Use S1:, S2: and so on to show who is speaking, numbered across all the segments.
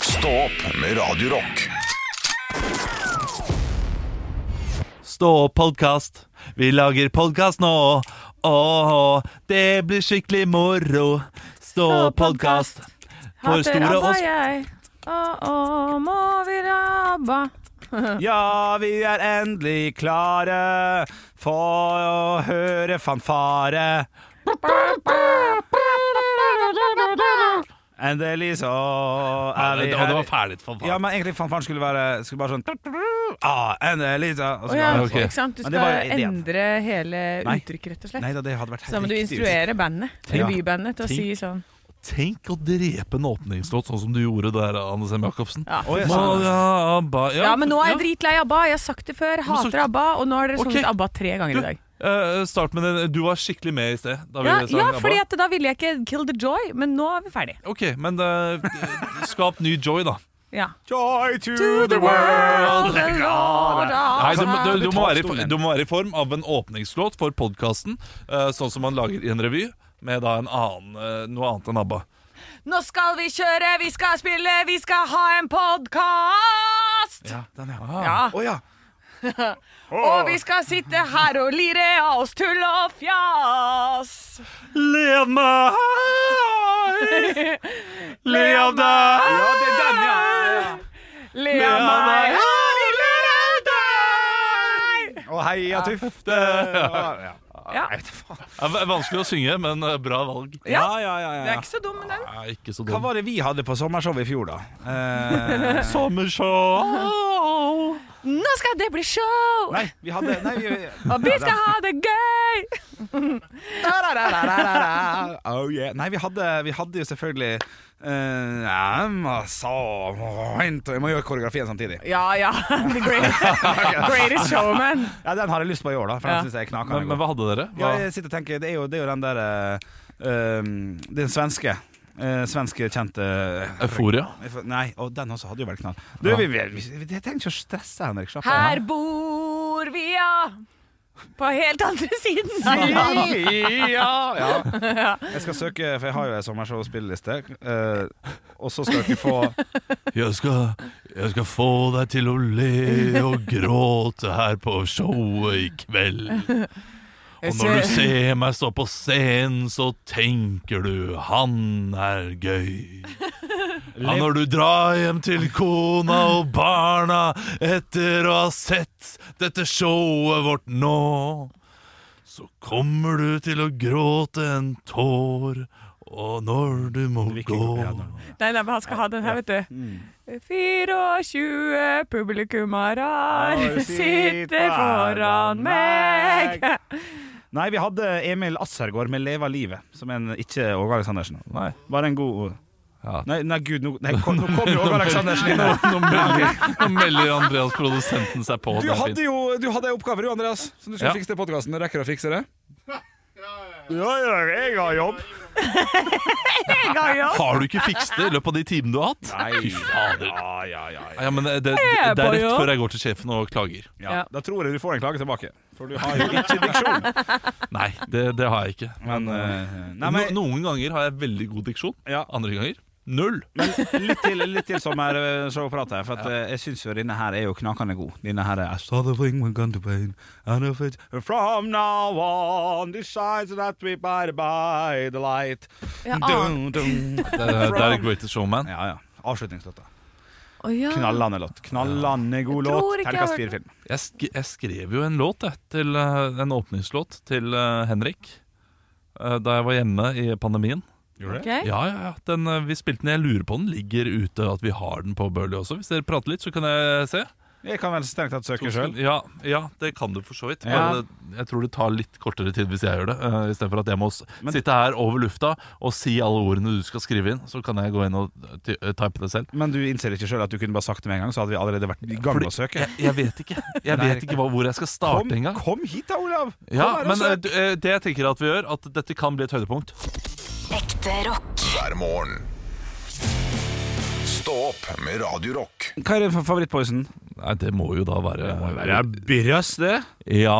S1: Stå opp med Radio Rock
S2: Stå opp podkast. Vi lager podkast nå. Åh, det blir skikkelig moro. Stå opp podkast. For
S3: Hater
S2: store
S3: ABBA,
S2: og
S3: jeg. Å, å, må vi rabba?
S4: Ja, vi er endelig klare for å høre fanfare. Endelig så er vi
S5: Og det var ferdig for faen.
S4: Ja, men egentlig fanfaren skulle være Skulle bare sånn ah, Endelig så og
S3: Å
S4: så-
S3: ja,
S5: ok.
S3: ikke sant? Du
S4: Men
S3: skal
S4: det var ideen.
S3: endre hele
S4: Nei.
S3: uttrykket, rett og slett.
S4: Nei da, det hadde vært
S3: Så da må du
S4: riktig ut.
S3: instruere bandet,
S4: Ja.
S3: revybandet, til å
S5: Ting.
S3: si sånn
S5: Tenk å drepe en åpningslåt sånn som du gjorde der, Anne Sem Jacobsen.
S3: ja.
S4: Å, ja,
S5: Må,
S4: sånn.
S5: ja, ba, ja,
S3: ja, men nå er jeg
S5: ja.
S3: dritlei ABBA. Jeg har sagt det før. Jeg
S5: Men så-
S3: hater ABBA. Og nå har dere
S5: Ok.
S3: sunget ABBA tre ganger i dag.
S5: Eh, Start med den. Du var skikkelig med i sted. Da vi
S3: Ja,
S5: sang
S3: ja
S5: ABBA.
S3: fordi at da ville jeg ikke Kill the Joy, men nå er vi ferdig.
S5: Ok, men eh, skap ny joy, da.
S3: Ja.
S4: Joy to the world
S3: the Lord of-
S5: Nei, du, må- du, du, må være
S4: Betalt
S5: i,
S4: stolen.
S5: du må være i form av en åpningslåt for podkasten, sånn som man lager i en revy, med da en annen, eh, noe annet enn ABBA.
S3: Nå skal vi kjøre, vi skal spille, vi skal ha en podkast!
S4: Ja, den ja Å
S3: Ja.
S4: ja
S3: Og vi skal sitte her og lire av oss tull og fjas.
S5: Lev meg Lev deg
S4: Ja, det er den ja
S3: Le av meg.
S4: Og heia tufte Ja,
S3: Ja.
S4: Jeg vet da faen
S5: Vanskelig å synge, men eh, bra valg.
S4: Ja, ja, ja,
S3: Det
S4: ja,
S3: er ikke så dum, men den.
S5: Nei, ikke så
S4: Hva
S5: dum.
S4: var det vi hadde på sommershowet i fjor, da? Eh,
S5: Sommershow!
S3: Nå skal det bli show,
S4: nei, vi hadde Nei, vi, vi
S3: og vi skal ha det gøy.
S4: Oh yeah. Nei, vi hadde, vi hadde jo selvfølgelig eh, ja, men så- Jeg må gjøre koreografien samtidig.
S3: Ja, ja. The greatest, greatest showman.
S4: Ja, Den har jeg lyst på i år, da. For
S3: Ja.
S4: den synes jeg er knakende
S5: Men, men
S4: god.
S5: hva hadde dere? Hva?
S4: Ja, jeg sitter og tenker, det er jo, det er jo den der eh, um, Den svenske. eh, svenske kjente
S5: Euforia?
S4: Nei, og den også hadde jo vært knall. Du, vi, vi, vi, jeg trenger ikke å stresse, Henrik. Slapp
S3: Her bor vi, ja. På helt andre siden.
S4: ja, ja. Jeg skal søke, for jeg har jo en sommershow-spilleliste. eh, og så skal dere få
S5: Jeg skal, jeg skal få deg til å le og gråte her på showet i kveld. Og når du ser meg stå på scenen, så tenker du 'han er gøy'. Ja, når du drar hjem til kona og barna etter å ha sett dette showet vårt nå, så kommer du til å gråte en tår. Og når du må gå
S3: Nei, nei, men han skal ha den her, vet du. 24 publikummarar
S4: Ja,
S3: sitter foran meg.
S4: Nei, vi hadde Emil Assergaard med 'Leva livet', som en ikke Åge Aleksandersen.
S5: Nei.
S4: Bare en god
S5: Ja.
S4: Nei, nei, gud, nå, nei, kom, nå kom jo Åge Aleksandersen inn her.
S5: Nå melder, nå melder Andreas produsenten seg på.
S4: Du
S5: Det er
S4: hadde
S5: fint.
S4: jo du hadde en oppgave, du, Andreas, som du skulle
S5: Ja.
S4: fikse til podkasten. Rekker du å fikse det? Ja, ja, jeg har jobb.
S5: Har du ikke fikst det i løpet av de timene du har hatt?
S4: Nei,
S5: Fy fader.
S4: ja, ja, ja, ja.
S5: Ja, men det, det,
S3: Jeg er
S5: det er
S3: på
S5: rett
S3: jobb.
S5: før jeg går til sjefen og klager.
S4: ja. Da tror jeg du får en klage tilbake, for du har jo ikke diksjon.
S5: Nei, det, det har jeg ikke.
S4: Men, eh, nei,
S5: No,
S4: men
S5: noen ganger har jeg veldig god diksjon,
S4: ja.
S5: andre ganger null.
S4: Men litt til, litt til sommershowprat her, for at, eh, jeg syns jo denne her er jo knakende god. Denne her er I saw the wing with gun to pain, and if it From now on, the signs that we by by the light
S3: Ja, ah,
S4: dun, dun.
S5: Det, det er Greatest Showman.
S4: Ja, ja. Avslutningslåta.
S3: Å, ja.
S4: Knallende låt. Knallende god
S3: Jeg tror
S4: låt.
S3: ikke jeg
S4: Terningkast
S3: har hørt
S4: fire-film.
S5: Jeg, sk jeg skrev jo en låt, jeg, til, eh, en åpningslåt til eh, Henrik. eh, Da jeg var hjemme i pandemien.
S3: Ok.
S5: Ja, ja, ja. Den, eh, vi spilte den, Jeg lurer på den ligger ute, at vi har den på Burley også. Hvis dere prater litt, så kan jeg se.
S4: Jeg kan vel strengt tatt søke sjøl.
S5: Ja, ja, det kan du for så vidt.
S4: Ja.
S5: Bare det- Jeg tror det tar litt kortere tid hvis jeg gjør det. Uh, Istedenfor at jeg må s-
S4: Men-
S5: sitte her over lufta og si alle ordene du skal skrive inn. Så kan jeg gå inn og ty- eh, type det selv.
S4: Men du innser ikke sjøl at du kunne bare sagt det med en gang, så hadde vi allerede vært i gang
S5: Fordi
S4: med å søke.
S5: Jeg, jeg vet ikke Jeg
S4: Nei,
S5: vet ikke hva, hvor jeg skal
S4: Kom,
S5: starte engang.
S4: kom hit da, Olav! Kom
S5: Ja,
S4: her altså. og
S5: men eh,
S4: søk.
S5: du, eh, det jeg tenker at vi gjør, at dette kan bli et høydepunkt.
S6: Ekte rock.
S1: hver morgen. Stå opp med Radio Rock.
S4: Hva er din favorittpoison?
S5: Nei, det må jo da være
S4: Birras, det.
S5: Ja.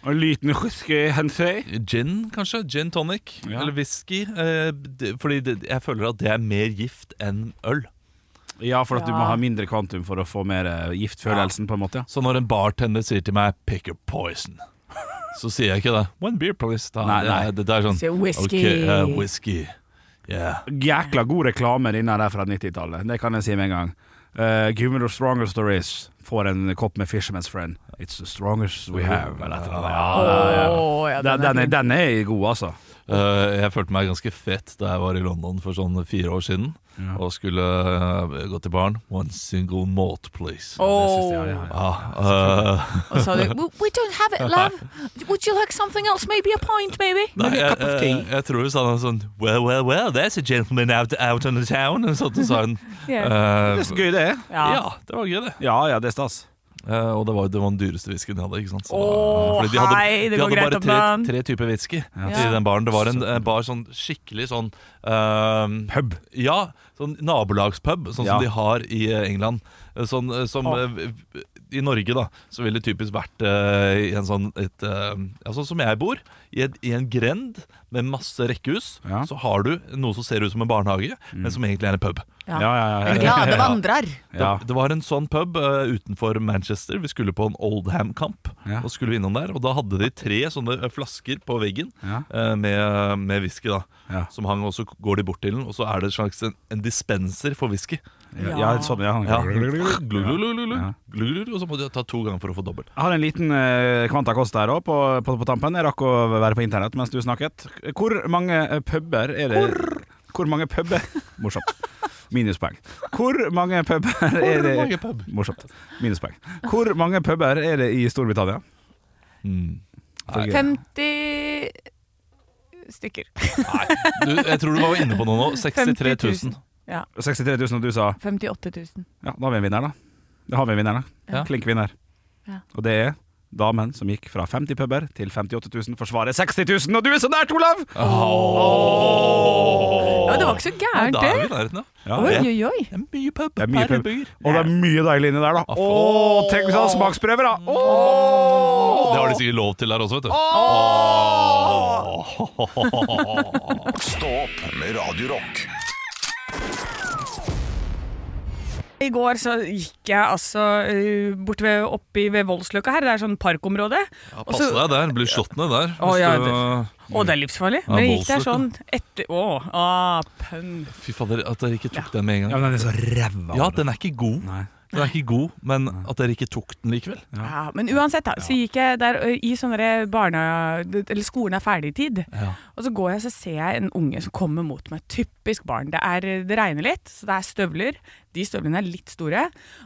S4: En liten whisky hensei.
S5: Gin, kanskje. Gin tonic.
S4: Ja.
S5: Eller whisky. eh, d- Fordi det- jeg føler at det er mer gift enn øl.
S4: Ja, for at du
S3: Ja.
S4: må ha mindre kvantum for å få mer eh, giftfølelsen, på en måte.
S5: Så når en bartender sier til meg 'pick your poison', så sier jeg ikke det. One beer, please. Da,
S4: Nei, nei.
S5: Det, det er sånn
S3: Sier whisky.
S5: ok, eh, whisky. Yeah.
S4: ja. Jækla god reklame, denne der fra 90-tallet. Det kan jeg si med en gang. Uh, give me the strongest there is. Får en kopp med Fisherman's Friend. It's the strongest we have. Eller et eller annet. Ja, ja,
S3: Åh,
S4: ja.
S3: ja,
S4: Den, den, er,
S3: fin.
S4: den er god, altså.
S5: Eh, jeg følte meg ganske fett da jeg var i London for sånn fire år siden og skulle eh, gå til baren. One single malt, please.
S4: synes jeg,
S3: Åh.
S4: ja, ja.
S5: Ja, eh,
S3: Og så hadde jeg, "We- We don't have it, love. Would you like something else? Maybe a pint, maybe? eh,
S5: Nei, eh, jeg, jeg, jeg tror hun sa noe sånn Well, well, well, there's a gentleman out, out on the town Og sånt og sånn Eh,
S4: Det er så gøy, det.
S5: Ja, det var gøy det
S4: Ja ja, det er stas.
S5: Eh, Og det var, det var den dyreste whisken de hadde, ikke sant? Så det
S3: Åh,
S5: var- fordi de hadde,
S3: hei, det
S5: de
S3: går
S5: hadde
S3: greit
S5: bare
S3: opp
S5: tre,
S3: vann.
S5: tre typer whisky i
S3: Ja.
S5: den baren Det var en eh, bar sånn skikkelig sånn eh,
S4: Pub.
S5: Ja, sånn nabolagspub Sånn
S4: Ja.
S5: som de har i eh, England Eh, Sånn eh, som eh, I Norge da Så ville det typisk vært eh, i en sånn et, eh, ja, Sånn som jeg bor I en, i en grend med masse rekkehus
S4: Ja.
S5: Så har du noe som ser ut som en barnehage Men som egentlig er en pub
S3: Ja.
S4: Ja, ja, ja.
S3: Glade vandrer.
S4: Ja.
S5: det, det var en sånn pub eh, utenfor Manchester. Vi skulle på en Oldham-kamp.
S4: Ja.
S5: Og skulle innom der Og da hadde de tre sånne eh, flasker på veggen
S4: Ja.
S5: eh, med, med whisky. da
S4: Ja.
S5: Som hang, og så går de bort til den, og så er det en slags en, en dispenser for whisky.
S4: Ja, ja, sånn, ja.
S5: Ja. Glululululu, glulululu, Og så må de ta to ganger for å få dobbelt.
S4: Jeg har en liten eh, Quanta Costa her også, på, på, på tampen. Jeg rakk å være på internett mens du snakket. Hvor mange eh, puber er det Hvor mange puber Morsomt. Minuspoeng. Hvor mange puber er det
S5: mange pub?
S4: Morsomt. Minuspoeng. Hvor mange puber er det i Storbritannia?
S5: Mm.
S4: Følge-
S3: 50 stykker.
S5: Du, jeg tror du var inne på noe nå. 63
S3: 50
S5: 000.
S3: 000. Ja.
S4: 63 000, og du sa
S3: 58 000.
S4: Ja, da har vi en vinner, da. Da har vi en vinner, da.
S5: Ja.
S4: Klink vinner.
S3: Ja.
S4: Og det er damen som gikk fra 50 puber til 58 000, forsvarer 60 000, og du er så nært, Olav!
S3: Ja, det var ikke så
S5: Nei,
S3: gærent,
S5: Da er vi
S3: det.
S5: i nærheten, ja.
S4: Ja,
S3: Oi,
S4: det-
S3: oi, oi.
S5: Det er mye pub
S4: Det er mye
S5: per
S4: pub.
S5: innbygger.
S4: Og det er mye deilig inni der, da. Å, tenk hvis han har smaksprøver, da!
S5: Det
S4: Åh!
S5: har de sikkert lov til der også, vet du.
S1: Stå opp med Radio Rock.
S3: I går så gikk jeg altså eh, bort ved, oppi ved Voldsløkka her, det er sånn parkområde.
S5: Ja,
S3: Og
S5: Passe
S3: så-
S5: deg der, blir slått ned der.
S3: Å, ja,
S5: Hvis du-
S3: Å, det er livsfarlig.
S5: Ja,
S3: Men jeg gikk der sånn ah,
S5: Voldsløkka.
S3: etter Å, apen.
S5: Fy fader, at dere ikke tok den med en gang.
S4: Ja,
S5: Ja,
S4: men den er så ræva.
S5: den er ikke god,
S4: Nei.
S5: Den er ikke god men at dere ikke tok den likevel.
S3: Ja, men uansett, da. Så gikk jeg der ø, i sånne der barna... Eller skolen er ferdig i tid.
S5: Ja.
S3: Og så går jeg så ser jeg en unge som kommer mot meg. Typisk barn. Det, er, det regner litt, så det er støvler. De støvlene er litt store.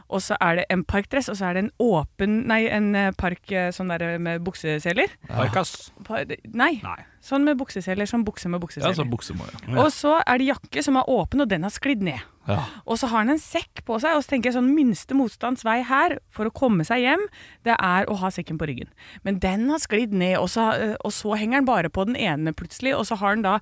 S3: Og så er det en parkdress, og så er det en åpen Nei, en eh, park eh, sånn der med bukseseler.
S4: Parkas.
S3: Pa- Nei.
S4: Nei.
S3: Sånn med bukseseler. Sånn bukse med
S5: Ja,
S3: bukseseler.
S5: så buksemål, ja.
S3: Og så er det jakke som er åpen, og den har sklidd ned.
S5: Ja.
S3: Og så har han en sekk på seg, og så tenker jeg sånn minste motstands vei her for å komme seg hjem, det er å ha sekken på ryggen. Men den har sklidd ned, og så, eh, og så henger han bare på den ene plutselig, og så har han da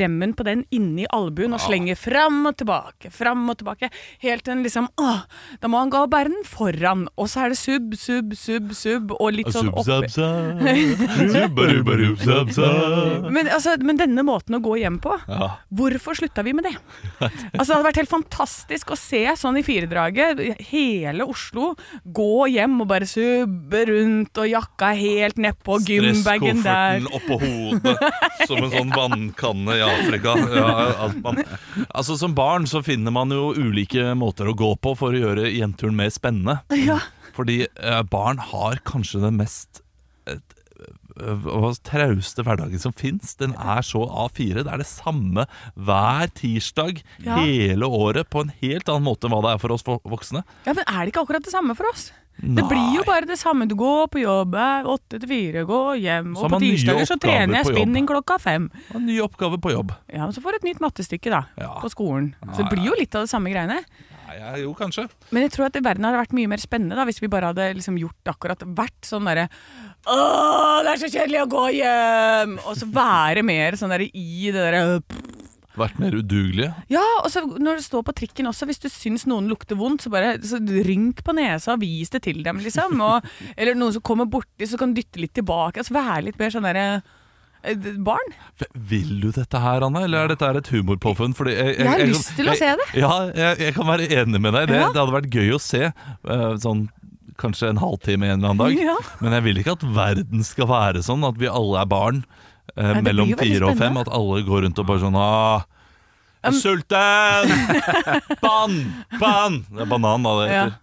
S3: remmen på den inni albuen og slenger fram og tilbake, fram og tilbake, helt til den liksom åh, Da må han gå og bære den foran, og så er det sub, sub, sub, sub, og litt sånn opp...
S5: Zub-zab-zab. Zub-ba-du-ba-du-zab-zab.
S3: Men, altså, men denne måten å gå hjem på,
S5: Ja.
S3: hvorfor slutta vi med det? Altså, det hadde vært helt fantastisk å se sånn i firedraget, hele Oslo, gå hjem og bare subbe rundt, og jakka helt nedpå, gymbagen der.
S5: Stresskofferten oppå hodet som en sånn vannkanne i Afrika. Ja, alt man. Altså Som barn så finner man jo ulike måter å gå på for å gjøre jenturen mer spennende.
S3: Ja.
S5: Fordi eh, barn har kanskje den mest eh, eh, trauste hverdagen som fins. Den er så A4. Det er det samme hver tirsdag
S3: Ja.
S5: hele året på en helt annen måte enn hva det er for oss vo- voksne.
S3: ja, men er det ikke akkurat det samme for oss? Det blir jo bare det samme. Du går på jobb eh, åtte til fire, går hjem,
S5: Så har
S3: og på
S5: man nye
S3: tirsdager så
S5: oppgaver
S3: trener jeg
S5: på jobb.
S3: spinning klokka fem.
S5: Og en ny oppgave på jobb.
S3: Ja, men så får du et nytt mattestykke, da,
S5: Ja.
S3: på skolen. Så det blir jo litt av det samme greiene.
S5: Nei, ja, jo, kanskje.
S3: Men jeg tror at verden hadde vært mye mer spennende da, hvis vi bare hadde liksom gjort akkurat vært sånn derre Åh, det er så kjedelig å gå hjem! Og så være mer sånn derre i det derre
S5: Vært mer udugelige.
S3: Ja, og så når du står på trikken også, hvis du syns noen lukter vondt, så bare så rynk på nesa og vis det til dem, liksom. Og, eller noen som kommer borti, så kan du dytte litt tilbake. Altså være litt mer sånn derre eh, d- barn.
S5: V- Vil du dette her, Anne, eller er dette her et humorpåfunn? Fordi
S3: Jeg har
S5: kan-
S3: lyst til å
S5: jeg-
S3: se det.
S5: Ja, jeg, jeg kan være enig med deg i det.
S3: Ja.
S5: Det hadde vært gøy å se. eh, sånn kanskje en halvtime en eller annen dag.
S3: Ja.
S5: Men jeg vil ikke at verden skal være sånn at vi alle er barn eh,
S3: det blir
S5: mellom
S3: jo veldig
S5: fire og fem.
S3: spennende.
S5: At alle går rundt og bare sånn ah, jeg er
S3: Um,
S5: sulten! Bann! Bann! Det er banan, da, det heter.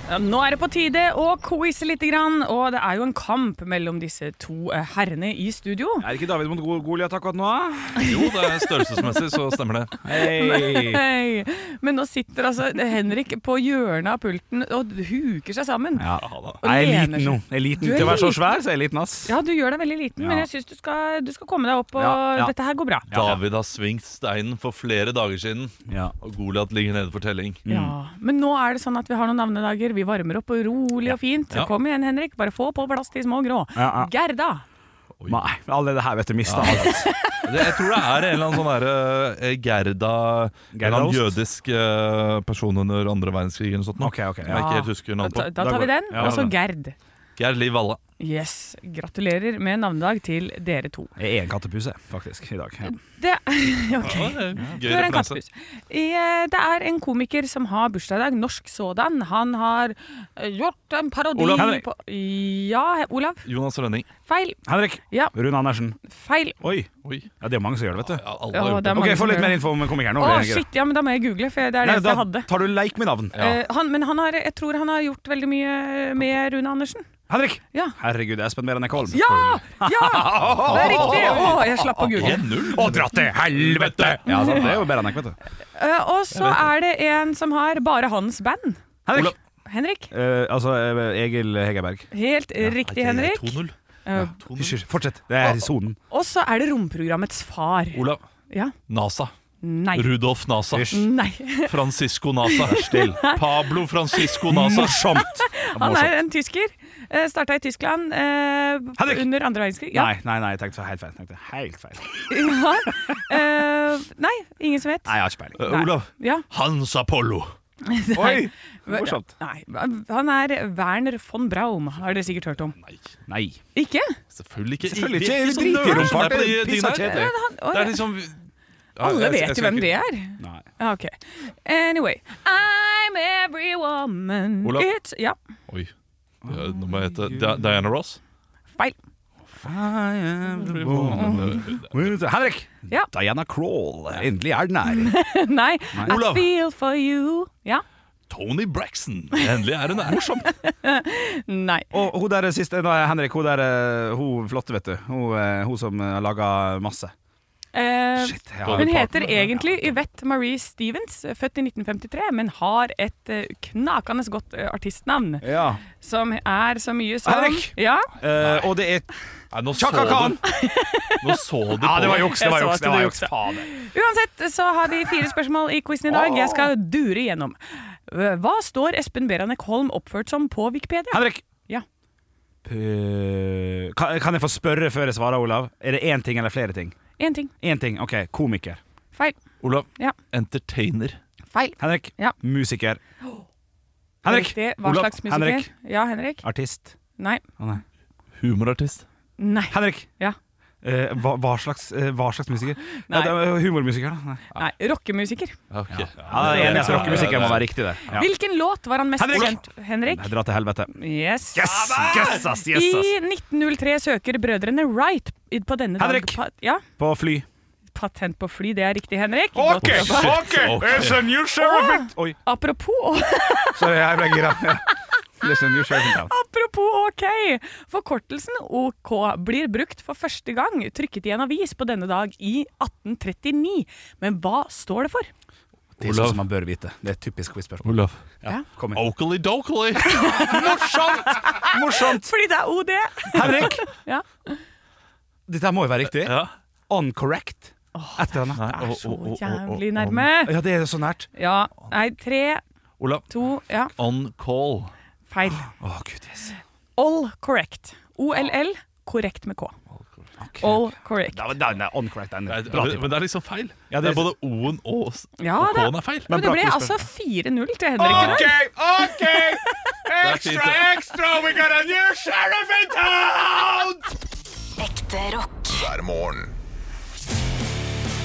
S3: Ja, Nå er det på tide å quize litt, grann, og det er jo en kamp mellom disse to eh, herrene i studio.
S4: Er det ikke David mot Gol- Goliat akkurat nå?
S5: Jo, det er størrelsesmessig, så stemmer det.
S4: Hei!
S3: Hei. Men nå sitter altså Henrik på hjørnet av pulten og huker seg sammen.
S4: Ja.
S3: Og
S4: Jeg er
S3: lener
S4: liten nå.
S3: seg.
S4: Jeg er liten.
S3: Du er
S4: Til å være så
S3: liten.
S4: svær, så er jeg liten, ass.
S3: Ja, du gjør deg veldig liten, men
S4: Ja.
S3: jeg syns du, skal- du skal komme deg opp, og
S4: Ja, ja.
S3: dette her går bra.
S5: David har svingt steinen for flere dager siden,
S4: Ja.
S5: og Goliat ligger nede for telling.
S4: Mm.
S3: Ja, Men nå er det sånn at vi har noen navnedager. Vi varmer opp og rolig og fint.
S5: Ja.
S3: Kom igjen, Henrik. Bare få på plass de små grå.
S4: Ja, ja.
S3: Gerda.
S4: Nei, allerede her vet du mista alt.
S5: Det, jeg tror det er en eller annen sånn der, eh, Gerda En eller annen
S4: Gerdaost?
S5: jødisk eh, person under andre verdenskrig eller noe sånt. nå,
S4: Ok, ok,
S5: Som jeg
S4: ja.
S5: ikke helt husker navnet
S3: Da,
S5: på.
S3: da tar vi den.
S4: Ja,
S3: Og så
S4: ja.
S3: Gerd.
S5: Gerd Liv Valle.
S3: Yes. Gratulerer med navnedag til dere to.
S4: Jeg er en kattepus, jeg, faktisk, i dag. Ja.
S3: Det, ok.
S5: Gøy
S3: Du er
S5: referanse.
S3: en kattepus. Eh, Det er en komiker som har bursdag i dag, norsk sådan. Han har eh, gjort en parodi
S4: Olav Henrik.
S3: på Ja, Olav.
S5: Jonas Rønning.
S3: Feil.
S4: Henrik
S3: Ja,
S4: Rune Andersen.
S3: feil.
S4: Oi.
S5: Oi.
S4: Ja, det er mange som gjør det, vet du.
S5: Ja, alle
S3: Ja,
S5: har gjort
S3: det er
S5: det.
S3: mange
S4: Ok,
S3: som
S4: Få litt
S3: gjør
S4: mer
S3: det.
S4: info om komikeren. nå.
S3: Å,
S4: Det er greit.
S3: shit, ja, men da må jeg google, for det er det
S4: Nei,
S3: eneste jeg
S4: da
S3: hadde.
S4: tar du leik med navn.
S3: Eh, han, men han har, jeg tror han har gjort veldig mye eh, med Rune Andersen.
S4: Henrik!
S3: Ja!
S4: Herregud, jeg er spent mer enn jeg Holm.
S3: Ja! ja! Det er riktig! Å, jeg slapp å google.
S5: 1-0.
S4: Og dratt til helvete! Ja, sant, det er jo Berenek, vet du.
S3: Eh, og så er det en som har bare hans band.
S4: Henrik.
S5: Olav.
S3: Henrik.
S4: Eh, altså eh, Egil Hegerberg.
S3: Helt
S5: Nei,
S3: riktig,
S5: det er
S3: Henrik.
S5: 2-0.
S3: Eh,
S4: Hysj, hysj, fortsett. Det er i sonen.
S3: og så er det romprogrammets far.
S5: Olav.
S3: Ja.
S5: NASA.
S3: Nei.
S5: Rudolf NASA.
S4: Hysj.
S3: Nei.
S5: Francisco NASA. Pablo Francisco NASA.
S4: Mm. Morsomt!
S3: Han er
S4: Morsomt.
S3: en tysker. Uh, Starta i Tyskland eh,
S4: Henrik!
S3: under andre verdenskrig.
S4: Nei, nei, nei, jeg tenkte helt feil. Tenkte helt feil. Nei,
S3: Ja. Eh, nei, ingen som vet.
S4: jeg har ikke peiling.
S5: Eh, Olav.
S3: Ja.
S5: Hans Apollo.
S4: Oi! Morsomt.
S3: Nei, han er Werner von Braum, har dere sikkert hørt om.
S4: Nei.
S3: Ikke?
S5: Selvfølgelig ikke.
S4: Selvfølgelig
S5: Vi er
S4: ikke.
S5: sånn nerder som er
S4: Drit i romfart,
S5: på de
S4: det er
S5: tingene her.
S4: pisskjedelig.
S5: Det
S3: Han,
S5: er liksom Ja,
S3: alle
S5: jeg- jeg
S3: vet jo
S5: skal
S3: hvem
S5: ikke-
S3: det er.
S4: Nei.
S3: Ja, Ok. Anyway. I'm every woman.
S5: Olav?
S3: It's, ja,
S5: Oi. Ja, nå må jeg hete Di- Diana Ross.
S3: feil.
S4: Henrik!
S3: Ja.
S4: Diana Crawl. Endelig er den her.
S3: Nei. I
S5: Olav.
S3: feel for you. Ja.
S5: Tony Braxton. Endelig er hun her. Morsomt.
S3: Nei.
S4: Og hun der siste, nei, Henrik, hun der eh, Hun flotte, vet du. Hun, eh, hun som eh, laga masse.
S3: Eh,
S4: Shit. Jeg har
S3: hun heter egentlig Yvette Marie Stevens, født i 1953, men har et eh, knakende godt eh, artistnavn.
S4: ja.
S3: Som er så mye som
S4: Henrik!
S3: Ja,
S4: Eh, og det er
S5: Nei, nå så
S4: Chaka Khan!
S5: du Nå så du
S4: Ja, det var
S5: på.
S4: juks! Det var
S3: Jeg så
S4: juks,
S3: at
S4: det var
S3: du
S4: juks.
S3: juksa.
S4: Faen.
S3: Uansett så har vi fire spørsmål i quizen i dag. Jeg skal dure igjennom. Eh, Hva står Espen Beranek Holm oppført som på Wikipedia?
S4: Henrik!
S3: Ja.
S4: P- Kan, kan jeg få spørre før jeg svarer, Olav? Er det én ting eller flere ting?
S3: Én ting.
S4: Én ting. OK. Komiker.
S3: Feil.
S5: Olav.
S3: Ja.
S5: Entertainer.
S3: Feil.
S4: Henrik.
S3: Ja.
S4: Musiker. Henrik!
S3: Riktig. Hva
S4: Olav.
S3: slags musiker?
S4: Henrik.
S3: Ja, Henrik.
S4: Artist.
S3: Nei.
S4: Å, nei.
S5: Humorartist.
S3: Nei.
S4: Henrik!
S3: Ja.
S4: Eh, hva, hva, slags, eh, hva slags musiker?
S3: Nei.
S4: Ja, det er humormusiker, da. Nei.
S3: Nei. Rockemusiker.
S5: Ok.
S4: Ja, det er enig, så rockemusikken må være riktig, det. Ja.
S3: Hvilken låt var han mest
S4: Henrik.
S3: kjent Henrik?
S4: Nei, Dra til helvete.
S3: Yes.
S4: Yes! Yes, ass! Yes, ass.
S3: I 1903 søker brødrene Wright i- på denne dag
S4: Henrik.
S3: pa- Ja,
S4: På fly.
S3: patent på fly. Det er riktig, Henrik. Godt
S4: OK!
S3: jobba.
S4: ok, It's a new sheriff! Oi,
S3: Apropos
S4: sorry, jeg ble gira. Ja. There's a new sheriff in town.
S3: Apropos OK! Forkortelsen OK blir brukt for første gang trykket i en avis på denne dag i 1839. Men hva står det for?
S4: Det er
S5: Olav.
S4: sånn som man bør vite. Det er et typisk quiz-spørsmål.
S5: Olav.
S4: Kom igjen.
S5: Oakley Dokley.
S4: Morsomt! Morsomt!
S3: Fordi det er OD!
S4: Henrik!
S3: Ja.
S4: Dette her må jo være riktig.
S5: Ja.
S4: Uncorrect. Et eller annet.
S3: Det er så
S7: å, å, å,
S3: jævlig
S7: å, å.
S3: nærme.
S4: Ja, det er så nært.
S3: Ja. Nei, tre,
S7: Olav.
S3: to Ja,
S7: On call.
S3: feil.
S4: Å, gud, yes.
S3: All correct. OLL, korrekt med K. All correct.
S4: Da, da, nei, uncorrect. Den er bra
S5: Men
S4: tipp.
S5: men det er liksom feil.
S4: Ja,
S5: det
S4: det
S5: er
S4: er-
S5: både O-en og s-
S3: Ja
S5: og
S3: da.
S5: K-en er feil.
S3: Men det
S4: bra
S3: ble
S4: quiz,
S3: altså 4-0 til Henrik.
S4: OK, OK!
S5: fint,
S4: Extra, extra, we got a new sheriff in town!
S8: Ekte rock.
S1: hver morgen.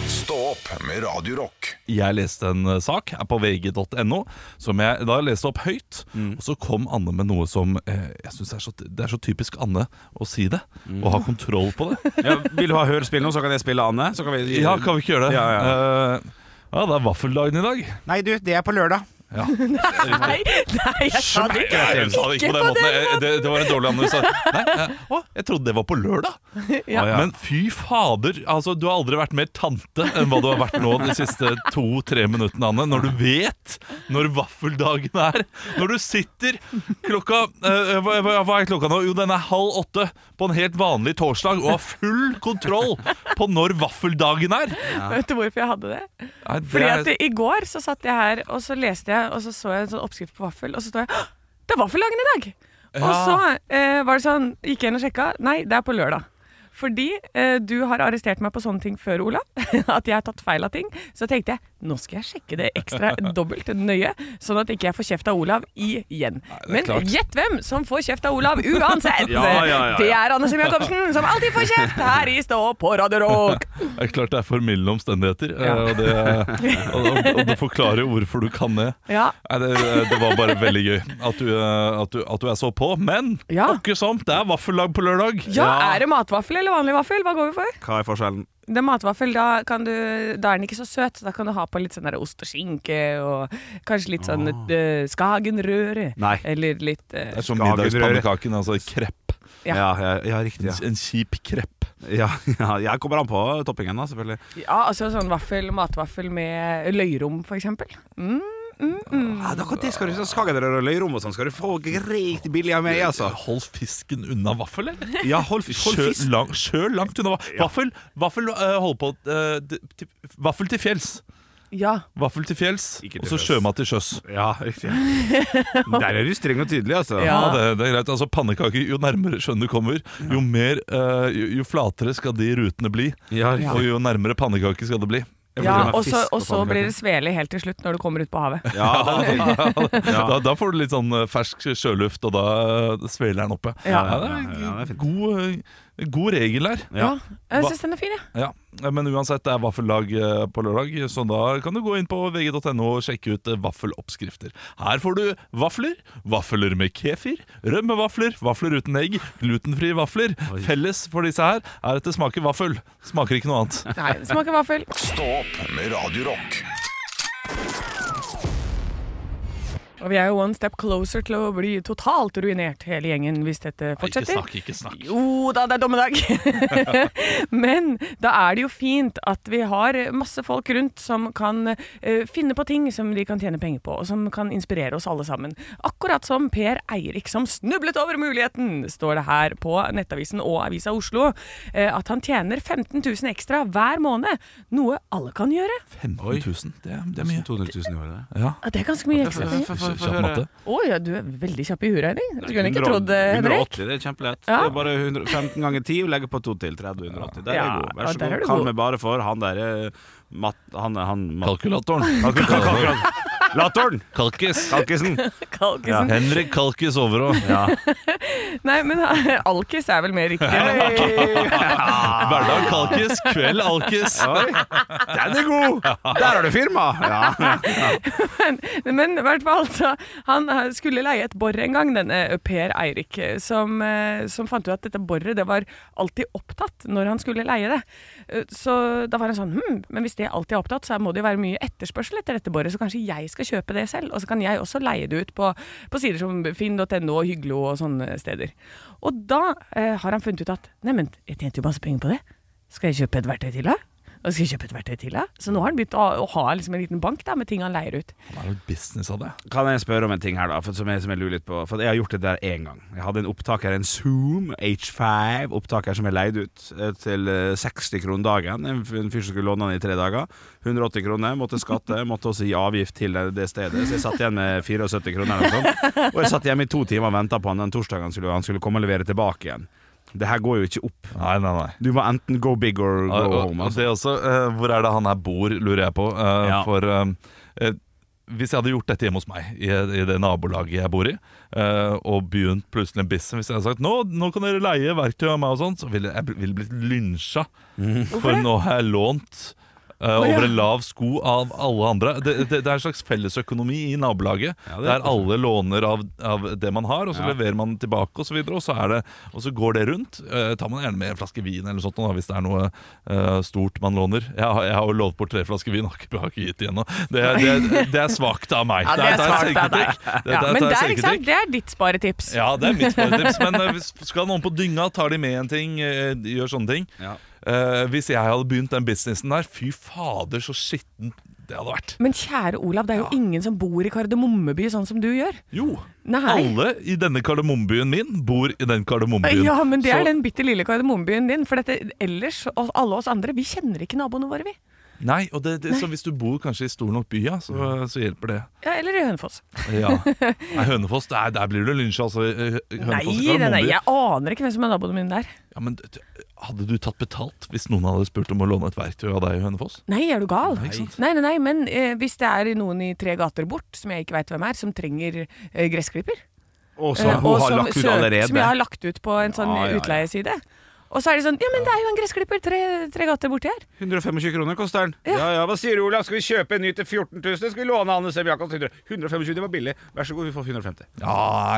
S1: Stå opp med Radio Rock.
S5: Jeg leste en eh, sak her på vg.no som jeg da leste opp høyt. Og så kom Anne med noe som eh, jeg synes er så, Det er så typisk Anne å si det, og ha kontroll på det.
S4: Ja, vil du ha hørespill nå, så kan jeg spille Anne. Så kan vi,
S5: Ja, kan vi ikke gjøre det?
S4: Ja, ja.
S5: Eh, ja, det er vaffeldagen i dag.
S4: Nei, du, det er på lørdag.
S3: Nei, nei, jeg sa det ikke.
S5: Jeg sa det ikke på den måten. Jeg- Det, det var en dårlig anmeldelse. Nei, jeg, å, jeg trodde det var på lørdag.
S3: Ja.
S5: Å, ja. Men fy fader, altså, du har aldri vært mer tante enn hva du har vært nå de siste to-tre minuttene, Anne. Når du vet når vaffeldagen er. Når du sitter klokka eh, hva, hva hva er klokka nå? Jo, den er halv åtte på en helt vanlig torsdag og har full kontroll på når vaffeldagen er.
S3: Vet du hvorfor jeg hadde det?
S5: Nei, det
S3: Fordi
S5: er-
S3: at I går så satt jeg her, og så leste jeg, og så så jeg en sånn oppskrift på vaffel, og så står jeg «Hå! Det er vaffeldagen i dag! Og
S5: Ja.
S3: så eh, var det sånn, gikk jeg inn og sjekka. Nei, det er på lørdag. Fordi eh, du har arrestert meg på sånne ting før, Olav. At jeg har tatt feil av ting. Så tenkte jeg nå skal jeg sjekke det ekstra dobbelt nøye, sånn at ikke jeg får kjeft av Olav igjen. Men
S5: klart.
S3: gjett hvem som får kjeft av Olav uansett!
S4: Ja, ja, ja, ja.
S3: Det er Anne Sem Jacobsen, som alltid får kjeft her i Stå på Radio Rock!
S5: Det er klart det er formildende omstendigheter, eh,
S3: Ja.
S5: og, det, og, og, og det forklarer jo hvorfor du kan det.
S3: Ja.
S5: Nei, det, det var bare veldig gøy at du, eh, at du, at du er så på. Men
S3: Ja.
S5: ikke som, det er vaffeldag på lørdag.
S3: Ja, er det matvaffel eller vanlig vaffel? Hva går vi for?
S4: Hva er forskjellen?
S3: Det er matvaffel, da, kan du, da er den ikke så søt. Da kan du ha på litt sånn der ost og skinke, og kanskje litt sånn eh, Skagenrøre.
S4: Nei.
S3: Eller litt eh,
S5: Det er som
S4: Skagerrøre.
S5: middagspannekaken, altså krepp.
S3: Ja.
S4: Ja, ja, ja riktig. Ja.
S5: En kjip krepp.
S4: Ja, ja, jeg kommer an på toppingen, da, selvfølgelig.
S3: Ja, altså sånn vaffel, matvaffel med løyrom, for eksempel. Mm.
S4: Ja, Ah, da, det skal du Skagerrød i rommet og sånn, skal du få riktig billig av meg, altså.
S5: Hold fisken unna vaffel, eller?
S4: Ja, hold, hold
S5: Kjør
S4: fisk.
S5: lang, kjør langt unna vaffel. Vaffel, vaffel eh, hold på eh, d- til, Vaffel til fjells.
S3: Ja.
S5: Vaffel til fjells,
S4: Ikke til
S5: og så
S4: fjells.
S5: sjømat til sjøs.
S4: Ja, riktig. Der er du streng og tydelig, altså.
S5: Ja,
S3: Ja.
S5: det, det er greit. Altså, Pannekaker, jo nærmere sjøen du kommer, jo, mer, eh, jo, jo flatere skal de rutene bli.
S4: Ja, riktig.
S5: Og jo nærmere pannekaker skal det bli.
S3: ja
S4: blir med
S3: og så
S4: fisk
S3: og
S4: på
S3: så blir
S4: pannekaken.
S3: det svele helt til slutt når du kommer ut på havet.
S4: Ja, det er fint.
S5: Da, da får du litt sånn eh, fersk sjøluft, og da eh, sveler den oppe.
S3: Ja.
S5: det er
S4: Ja, ja, det er fint.
S5: god, eh, god regel her.
S4: Ja.
S3: Jeg syns den er fin, jeg.
S5: Ja. Men uansett, det er vaffeldag eh, på lørdag, så da kan du gå inn på vg.no og sjekke ut eh, vaffeloppskrifter. Her får du vafler, vafler med kefir, rømmevafler, vafler uten egg, glutenfrie vafler. Felles for disse her er at det smaker vaffel. Smaker ikke noe annet.
S3: Nei, det smaker vaffel.
S1: Stå opp med Radio Rock.
S3: Og vi er jo one step closer til å bli totalt ruinert, hele gjengen, hvis dette
S5: Ikke
S3: fortsetter.
S5: snakk, ikke snakk.
S3: Jo da, det er dommedag! Men da er det jo fint at vi har masse folk rundt som kan eh, finne på ting som de kan tjene penger på, og som kan inspirere oss alle sammen. Akkurat som Per Eirik som snublet over muligheten, står det her på Nettavisen og Avisa Oslo, eh, at han tjener 15 000 ekstra hver måned. Noe alle kan gjøre.
S5: 15 000, det, er- det er mye.
S4: 200 000 i året.
S3: Ja, Det er ganske mye ekstra penger.
S5: Kjapp matte.
S3: Å ja, du er veldig kjapp i huet, Henning. Du kunne ikke trodd det, Henrik.
S4: 180, det er kjempelett.
S3: Ja.
S4: Det er bare 100, 15 ganger 10, og legger på 2 til. 30, 180. Der er
S3: Ja,
S4: jeg god. Vær
S3: ja,
S4: så
S3: der er
S4: god.
S3: du
S4: Kall
S3: god.
S4: meg bare for han derre Matt... Han, han Matt...
S5: Kalkulatoren.
S4: Latoren!
S5: Kalkis.
S4: Kalkisen!
S3: Kalkisen.
S5: Henrik Kalkis Overå.
S3: Nei, men alkis er vel mer riktig.
S5: Hverdag Kalkis, kveld Alkis.
S4: Oi, den er god! Der har du firma! Ja.
S3: Men i hvert fall, så han eh, skulle leie et bor en gang, denne Per Eirik, eh, som, eh, som fant ut at dette boret det var alltid opptatt når han skulle leie det. Eh, Så da var han sånn hm, men hvis det alltid er opptatt, så må det jo være mye etterspørsel etter dette boret, så kanskje jeg skal kjøpe det selv, og så kan jeg også leie det ut på, på sider som finn.no og Hyglo og sånne steder. Og da eh, har han funnet ut at neimen, jeg tjente jo masse penger på det, skal jeg kjøpe et verktøy til da? Og skal jeg kjøpe et verktøy til, da? Så nå har han begynt å, å ha liksom en liten bank da, med ting han leier ut.
S9: Det er jo business av det.
S4: Kan jeg spørre om en ting her, da? For, som, jeg, som jeg lurer litt på. For jeg har gjort det der én gang. Jeg hadde en opptaker, en Zoom H5-opptaker, som jeg leide ut eh, til eh, 60 kroner dagen. En f- en fyr som skulle låne den i tre dager. 180 kroner. Måtte skatte. Måtte også gi avgift til det- det stedet. Så jeg satt igjen med 74 kroner eller noe sånt. Og jeg satt hjemme i to timer og venta på han den torsdagen han skulle, han skulle komme og levere tilbake igjen. Det her går jo ikke opp.
S5: Nei, nei, nei.
S4: Du må enten go big or
S5: Og,
S4: go
S5: og,
S4: home.
S5: og
S4: Altså.
S5: det også, eh, hvor er det han her bor, lurer jeg på. eh,
S4: Ja.
S5: For eh, eh, hvis jeg hadde gjort dette hjemme hos meg, i, i det nabolaget jeg bor i, eh, og begynt plutselig en business Hvis jeg hadde sagt nå, nå kan dere leie verktøy av meg, og sånt, så ville jeg bl- ville blitt lynsja.
S4: Mm.
S5: For nå har jeg lånt eh,
S3: ja.
S5: over en lav sko av alle andre. Det, det, det er en slags fellesøkonomi i nabolaget,
S4: Ja, det er
S5: der alle låner av, av det man har, og så
S4: Ja.
S5: leverer man tilbake, og så, videre, og, så er det, og så går det rundt. Eh, tar man gjerne med en flaske vin eller sånt, nå, da, hvis det er noe eh, stort man låner. Jeg, har- jeg har jo lovet bort tre flasker vin, har ikke, har ikke gitt det ennå. Det, det, det er svakt av meg.
S3: Ja, det
S5: Der
S3: er
S5: tar jeg
S3: svakt av deg.
S5: selvkritikk. Der-
S3: Ja,
S5: der
S3: men
S5: tar jeg
S3: der, ikke
S5: selvkritikk.
S3: sant? det er ditt sparetips.
S5: Ja, det er mitt sparetips. Men eh, hvis- skal noen på dynga, tar de med en ting, eh, gjør sånne ting.
S4: Ja.
S5: Eh, hvis jeg hadde begynt den businessen der, fy fader, så skitten det hadde vært.
S3: Men kjære Olav, det er jo ingen som bor i Kardemommeby sånn som du gjør.
S5: Jo,
S3: Nei.
S5: alle i denne kardemommebyen min bor i den kardemommebyen.
S3: Ja, men det
S5: så,
S3: er den bitte lille kardemommebyen din. For dette, ellers, og alle oss andre, vi kjenner ikke naboene våre, vi.
S5: Nei, og det, det, så hvis du bor kanskje i stor nok by, ja, så, så hjelper det.
S3: Ja, eller i Hønefoss.
S5: Ja. Nei, Hønefoss, der, der blir du lynsja, altså. eh, Hønefoss
S3: Nei,
S5: i
S3: nei, nei,
S5: kardemommeby.
S3: jeg aner ikke hvem som er naboene mine der.
S5: Ja, men d- hadde du tatt betalt hvis noen hadde spurt om å låne et verktøy av deg i Hønefoss?
S3: Nei, er du gal?
S5: Nei, ikke sant?
S3: Nei, nei, nei, men eh, hvis det er noen i tre gater bort, som jeg ikke veit hvem er, som trenger eh, gressklipper
S4: Og som
S3: eh,
S4: hun
S3: og
S4: har lagt ut
S3: søk-
S4: allerede.
S3: Som jeg har lagt ut på en sånn
S4: Ja, ja, ja.
S3: utleieside. Og så er det sånn Ja, men det er jo en gressklipper tre, tre gater borti her.
S4: 125 kroner koster den. Ja. ja hva sier du Olav? Skal vi kjøpe en ny til 14 000? Skal vi låne Anne Sem Jacobs 100? 125, det var billig. Vær så god, vi får 150.
S5: Ja,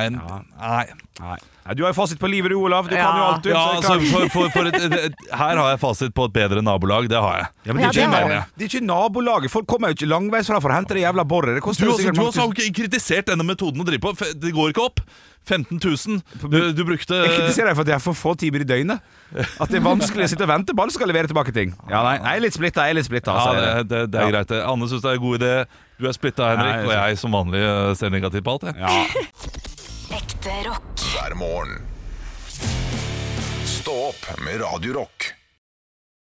S5: en, nei.
S4: Nei. du har jo fasit på livet du, Olav. Du
S3: Ja.
S4: kan jo alt du.
S5: Ja,
S4: så
S5: altså,
S4: det kan-
S5: for, for, for et, et, et, her har jeg fasit på et bedre nabolag, det har jeg.
S4: Ja, men
S3: Ja,
S4: det, er ikke,
S3: det har
S4: nabo-
S5: jeg.
S4: det er ikke nabolaget. Folk kommer jo ikke langveisfra for å hente det jævla boret. Det koster
S5: Du,
S4: jo
S5: også,
S4: sikkert
S5: du
S4: mange
S5: også har
S4: tusen.
S5: jo ikke kritisert denne metoden å drive på. F- Det går ikke opp. 15 000. Du, du brukte
S4: Jeg kritiserer deg for at jeg har for få timer i døgnet. At det er vanskelig å sitte og vente på alle som skal levere tilbake ting. Ja, nei, nei, jeg er litt splitta. Jeg er litt splitta.
S5: Ja,
S4: altså,
S5: det,
S4: jeg er det.
S5: det, det er greit. det. Anne syns det er en god idé. Du er splitta, Henrik,
S4: Nei,
S5: og jeg som vanlig eh, ser negativt på alt. Jeg.
S4: Ja.
S8: Ekte rock.
S1: hver morgen. Stå opp med Radio Rock.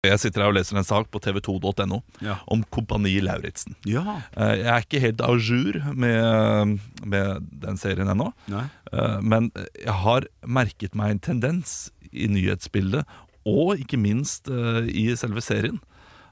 S5: jeg sitter her og leser en sak på tv2.no
S4: Ja.
S5: om Kompani Lauritzen. Eh, Jeg er ikke helt à jour med, med den serien ennå,
S4: Nei.
S5: eh, men jeg har merket meg en tendens i nyhetsbildet, og ikke minst eh, i selve serien,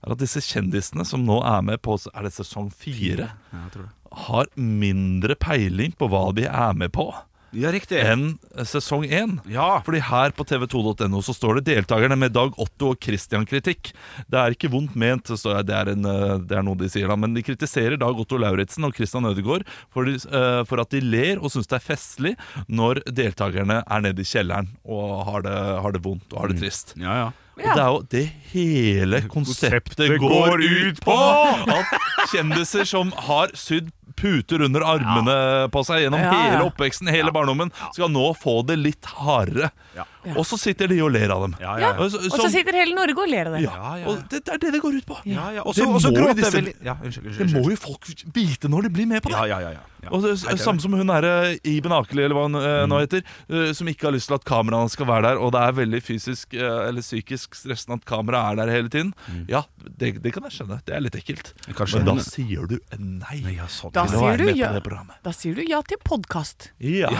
S5: er at disse kjendisene som nå er med på Er det sesong fire?
S4: Ja, jeg tror det.
S5: Har mindre peiling på hva de er med på,
S4: ja riktig.
S5: enn sesong én.
S4: Ja.
S5: Fordi her på tv2.no så står det deltakerne med Dag Otto og Christian kritikk. Det er ikke vondt ment, så står jeg, det, er en, eh, det er noe de sier da, men de kritiserer Dag Otto Lauritzen og Christian Ødegaard for, de, eh, for at de ler og syns det er festlig når deltakerne er nede i kjelleren og har det, har det vondt og har det trist.
S4: Ja, ja.
S5: Og det er jo det hele konseptet går,
S4: går ut
S5: ut på! At kjendiser som har sydd puter under armene på seg gjennom
S3: Ja, ja.
S5: hele oppveksten, hele barndommen, skal nå få det litt hardere.
S4: Ja.
S5: Og så sitter de og ler av dem.
S4: Ja,
S3: Ja.
S4: ja, ja.
S5: Og så-
S3: Og
S5: som-
S3: så sitter hele Norge og ler av det.
S5: ja, Og det, det er det det går ut på.
S4: Ja, ja. Og
S5: Det
S4: så og
S5: må
S4: så
S5: jo
S4: gråter
S5: disse-
S4: jeg veldig. Ja, unnskyld.
S5: Det
S4: unnskyld,
S5: må
S4: unnskyld.
S5: jo folk vite når de blir med på det.
S4: Ja, ja, ja, ja. ja.
S5: Og det,
S4: Nei, det Mm. er
S5: Samme som hun her, eh, Iben Akeli, eller hva hun eh, nå heter, eh, som ikke har lyst til at kameraene skal være der, og det er veldig fysisk eh, eller psykisk stressende at kameraet er der hele tiden.
S4: Mm.
S5: Ja, det, det kan jeg skjønne. Det er litt ekkelt.
S4: Jeg kan
S5: Men da
S4: skjønne.
S5: sier du nei.
S4: Nei, ja, sånn.
S3: Da
S5: Nå
S3: sier
S5: er jeg
S3: du
S5: med på
S3: ja.
S5: det programmet.
S3: Da sier du ja til podkast.
S5: Ja.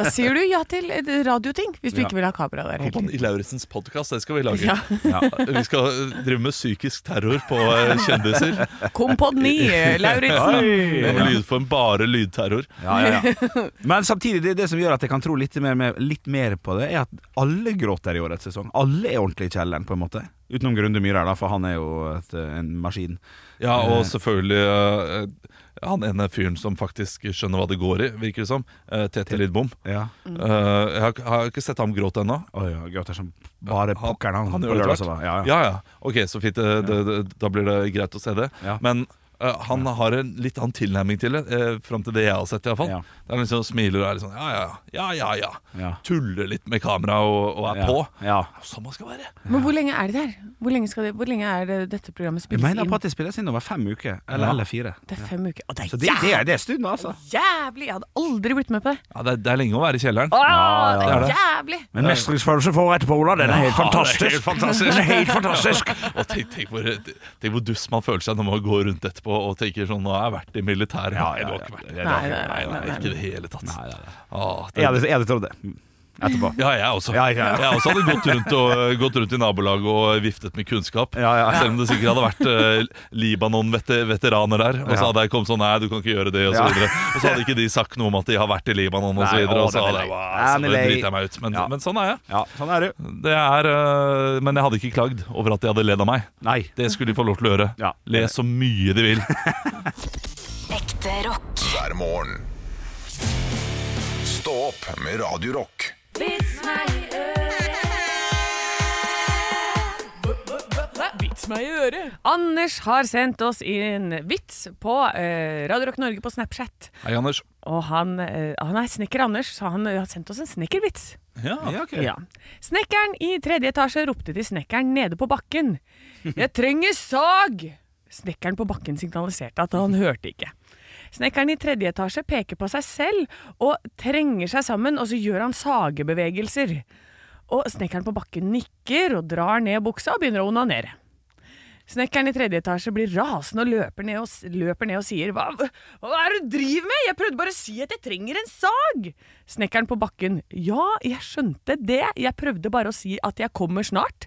S3: Da sier du ja til eh, radioting, hvis du
S4: Ja.
S3: ikke vil ha kamera der hele tiden.
S5: I Lauritzens podkast, det skal vi lage.
S3: Ja.
S4: Ja.
S5: Vi skal eh, drive med psykisk terror på eh, kjendiser.
S3: Kompani eh, Lauritzen!
S5: Med lydform bare lydterror.
S4: Ja, ja, ja. Men samtidig, det, det som gjør at jeg kan tro litt mer, med, litt mer på det, er at alle gråter i årets sesong. Alle er ordentlig i kjelleren, på en måte. Utenom Grunde Myhrer, da, for han er jo et, en maskin.
S5: Ja, og selvfølgelig eh, han ene fyren som faktisk skjønner hva det går i, virker det som. eh, Tete Lidbom.
S4: Ja.
S5: Eh, jeg har, har ikke sett ham gråte ennå.
S4: Å ja, gråter som bare
S5: Han-
S4: pokkeren, han.
S5: han
S4: på
S5: gjør det
S4: lørdag
S5: tvert.
S4: også, da. Ja, ja.
S5: Ja, ja. Ok, så fint. eh, det, det, da blir det greit å se det.
S4: Ja.
S5: Men Eh, han har en litt annen tilnærming til det, uh, fram til det jeg har sett. i hvert fall
S4: Ja.
S5: Der han liksom smiler og er litt sånn ja, ja, ja, ja, ja,
S4: Ja.
S5: Tuller litt med kamera og, og er
S4: Ja.
S5: på.
S4: Ja.
S5: Som man skal være.
S3: Men hvor lenge er det der? Hvor lenge, skal det, hvor lenge er det dette programmet
S4: Jeg
S3: spilles
S4: mener
S3: inn?
S4: på at det spilles inn over fem uker, eller, eller fire.
S3: Det er fem uker. Å, det er
S4: Så det, det, er- det er stund, altså.
S3: jævlig! Jeg hadde aldri blitt med på det.
S5: Ja, det, er, det er lenge å være i kjelleren.
S3: Å,
S4: Ja,
S3: det
S4: ja,
S3: er
S4: ja.
S3: jævlig!
S4: Men mestringsfølelsen for etterpå, Ola, den er helt
S5: det
S4: fantastisk.
S5: er helt fantastisk.
S4: Den er helt fantastisk.
S5: Og tenk, tenk, hvor, tenk hvor dust man føler seg når man går rundt etterpå og tenker sånn Nå har jeg vært i militæret.
S4: Ja,
S5: Nei,
S4: ja,
S5: du har
S4: ja.
S5: ikke vært
S4: Det-
S5: det.
S4: det har
S3: Nei, nei,
S5: Nei, nei,
S3: nei, nei.
S5: ikke i det hele tatt. Åh,
S4: Jeg
S5: det,
S4: hadde, jeg hadde trodd det. Mm. Etterpå.
S5: ja, jeg også.
S4: Ja, ja, ja.
S5: Jeg også hadde gått rundt, og, gått rundt i nabolaget og viftet med kunnskap.
S4: Ja, ja.
S5: Selv om det sikkert hadde vært eh, Libanon-veteraner der. Og så
S4: Ja.
S5: hadde jeg kommet sånn Nei, du kan ikke gjøre det, og så
S4: Ja.
S5: videre. Og så hadde ikke de sagt noe om at de har vært i Libanon, og så
S4: Nei,
S5: videre.
S4: å,
S5: Og så
S4: den er
S5: hadde jeg
S4: lei.
S5: bare så
S4: Den er lei.
S5: driter jeg meg ut. Men,
S4: Ja.
S5: men sånn er jeg.
S4: Ja, sånn er du.
S5: Det er, eh, men jeg hadde ikke klagd over at de hadde ledd av meg.
S4: Nei.
S5: Det skulle de få lov til å gjøre.
S4: Ja.
S5: Le så mye de vil.
S8: Ekte rock.
S1: hver morgen. Stå opp med Radio Rock.
S3: Anders har sendt oss inn vits på eh, Radio Rock Norge på Snapchat.
S5: Hei, Anders.
S3: Og han, eh, han er snekker Anders, så han eh, har sendt oss en snekkervits.
S4: Ja, ok.
S3: Ja. Snekkeren i tredje etasje ropte til snekkeren nede på bakken. Jeg trenger sag! Snekkeren på bakken signaliserte at han hørte ikke. Snekkeren i tredje etasje peker på seg selv og trenger seg sammen, og så gjør han sagebevegelser. Og snekkeren på bakken nikker og drar ned buksa og begynner å onanere. Snekkeren i tredje etasje blir rasende og løper ned og, s- løper ned og sier hva, hva er det du driver med? Jeg prøvde bare å si at jeg trenger en sag! Snekkeren på bakken ja, jeg skjønte det, jeg prøvde bare å si at jeg kommer snart.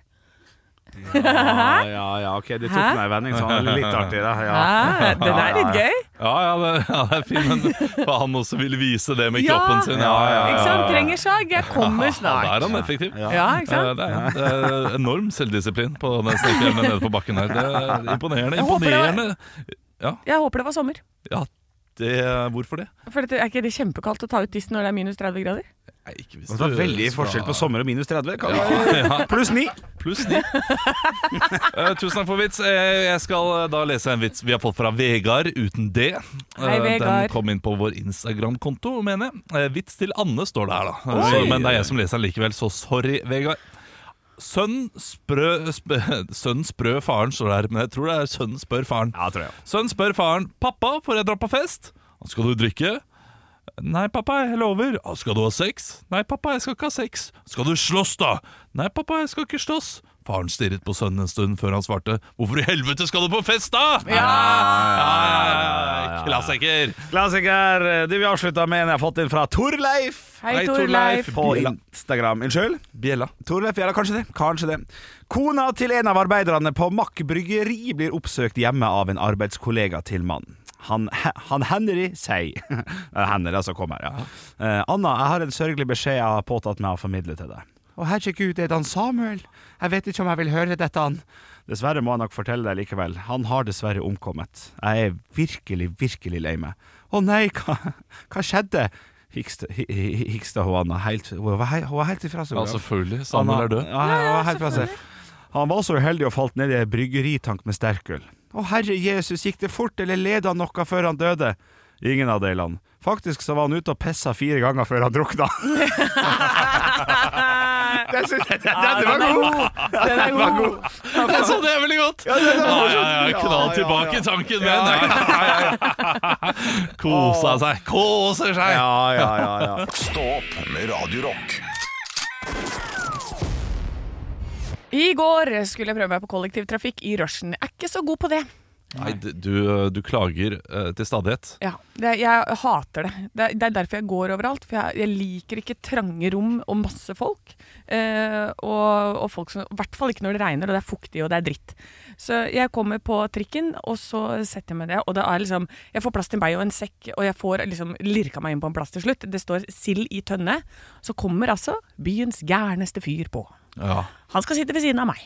S4: Ja, ja, ja, ok. Du tok
S3: Hæ?
S4: meg i vending, så han er litt artig, da. Ja.
S3: Hæ? det der er litt
S4: Ja, ja,
S3: gøy.
S5: Ja, ja, det, ja, det er fint, men for han også ville vise det med
S3: Ja.
S5: kroppen sin.
S3: Ikke sant? Trenger sag, jeg kommer
S5: Da
S3: snart.
S5: er han effektiv.
S3: Ja, ikke
S5: Eh,
S3: sant?
S5: Det er, det er enorm selvdisiplin på den snekkeren nede på bakken her. Det er imponerende.
S3: håper det var-
S5: imponerende.
S3: Jeg håper det var sommer.
S5: Ja, det, hvorfor det?
S3: For dette, er ikke det kjempekaldt å ta ut tissen når det er minus 30 grader?
S5: Nei, ikke hvis
S4: Det var
S5: du
S4: veldig
S5: skal-
S4: forskjell på sommer og minus 30. Kan
S5: Ja,
S4: du-
S5: ja.
S4: Pluss 9.
S5: Pluss ni. Eh, tusen takk for vits. Eh, jeg skal eh, da lese en vits vi har fått fra Vegard uten D. Eh,
S3: Hei, Vegard.
S5: Den kom inn på vår Instagram-konto, mener jeg. Eh, vits til Anne står det her, da. Eh,
S4: Oi.
S5: men det er jeg som leser den likevel, så sorry, Vegard. Sønn sprø, sp sønn sprø faren står det her, men jeg tror det er sønn spør faren.
S4: Ja, tror jeg.
S5: Sønn spør faren 'Pappa, får jeg dra på fest?' 'Skal du drikke?' 'Nei, pappa, jeg lover.' 'Skal du ha sex?' 'Nei, pappa, jeg skal ikke ha sex.' 'Skal du slåss, da?' 'Nei, pappa, jeg skal ikke slåss.' Faren stirret på sønnen en stund før han svarte 'Hvorfor i helvete skal du på fest, da?' Ja, Klassiker.
S4: Klassiker. Det vi avslutter med, en jeg har fått inn fra Torleif
S3: Hei, Torleif.
S4: på Instagram. Unnskyld?
S5: Bjella.
S4: Torleif, ja, kanskje det. Kanskje det. Kona til en av arbeiderne på Mack bryggeri blir oppsøkt hjemme av en arbeidskollega til mannen. Han, han Henry sier Det er Henry som kommer, ja. Eh, Anna, jeg har en sørgelig beskjed jeg har påtatt meg å formidle til deg. Å herregud, er det han Samuel? Jeg vet ikke om jeg vil høre dette, han. Dessverre må jeg nok fortelle deg likevel. Han har dessverre omkommet. Jeg er virkelig, virkelig lei meg. Å nei, hva, hva skjedde? Hikste, hi- hi- hikste hun Anna helt Hun var he- hun var helt ifra seg.
S5: Ja,
S4: bro.
S5: selvfølgelig. Samuel
S4: Han-
S5: er død.
S4: Ja, ja, helt fra seg. Han var så uheldig og falt ned i en bryggeritank med sterkøl. Å herre Jesus, gikk det fort, eller led han noe før han døde? Ingen av delene. Faktisk så var han ute og pissa fire ganger før han drukna. Den synes jeg- den- den var god! Den var god.
S5: Jeg så det er veldig godt! Ja, ja, ja, Knall
S4: Ja, ja,
S5: tilbake i tanken, men. Kosa seg. Koser seg.
S4: Ja, ja, ja, ja.
S1: Stå opp med Radio Rock.
S3: I går skulle jeg prøve meg på kollektivtrafikk i rushen. Jeg er ikke så god på det.
S5: Nei, d- du, du klager eh, til stadighet.
S3: Ja, det, jeg hater det. det. er- Det er derfor jeg går overalt. For jeg, jeg liker ikke trange rom og masse folk. Eh, og, og folk som, I hvert fall ikke når det regner og det er fuktig og det er dritt. Så jeg kommer på trikken, og så setter jeg meg det. Og det er liksom, jeg får plass til meg og en sekk, og jeg får liksom lirka meg inn på en plass til slutt. Det står sild i tønne. Så kommer altså byens gærneste fyr på.
S5: Ja.
S3: Han skal sitte ved siden av meg.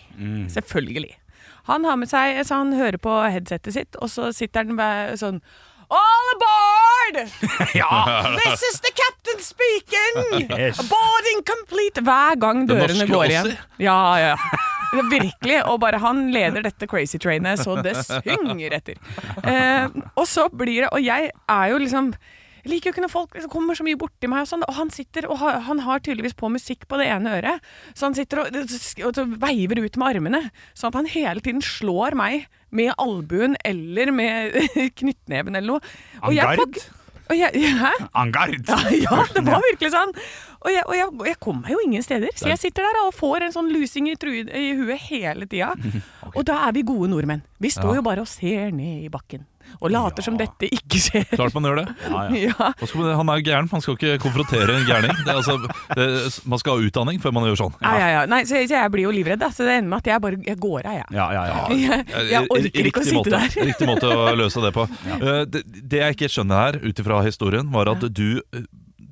S3: Selvfølgelig. Han har med seg, så han hører på headsetet sitt, og så sitter han ved sånn All aboard! This is the captain speaking! Boarding complete! Hver gang
S5: Den
S3: dørene
S5: norske
S3: går igjen.
S5: Ossi.
S3: Ja, ja, ja. Virkelig. Og bare han leder dette crazy trainet så det synger etter. Eh, og så blir det Og jeg er jo liksom jeg liker jo ikke når folk liksom kommer så mye borti meg, og, sånn, og han sitter og har, han har tydeligvis på musikk på det ene øret. Så han sitter og, og, og veiver ut med armene, sånn at han hele tiden slår meg med albuen eller med knyttneven eller noe. Og jeg får-
S4: Angard?
S3: og jeg, hæ?
S4: Angard!
S3: Ja, ja, det var virkelig sånn. Og jeg, og jeg, og jeg kom meg jo ingen steder. Så jeg sitter der da, og får en sånn lusing i, tru, i huet hele tida. Og da er vi gode nordmenn. Vi står jo bare og ser ned i bakken. Og later som dette ikke skjer.
S5: Klart man gjør det.
S3: Ja.
S5: Hva skal man- Han er gæren, man skal ikke konfrontere en gærning. Det er altså, det, man skal ha utdanning før man gjør sånn.
S3: Ja, ja, ja. Nei, så, jeg- så jeg blir jo livredd, da. så det ender med at jeg bare jeg går av, jeg.
S4: Ja, ja, ja.
S3: Jeg, jeg orker ikke
S5: Riktig
S3: å sitte
S5: måte,
S3: der.
S5: Riktig måte å løse det på. Eh, Det, det jeg ikke skjønner her, ut ifra historien, var at du, eh,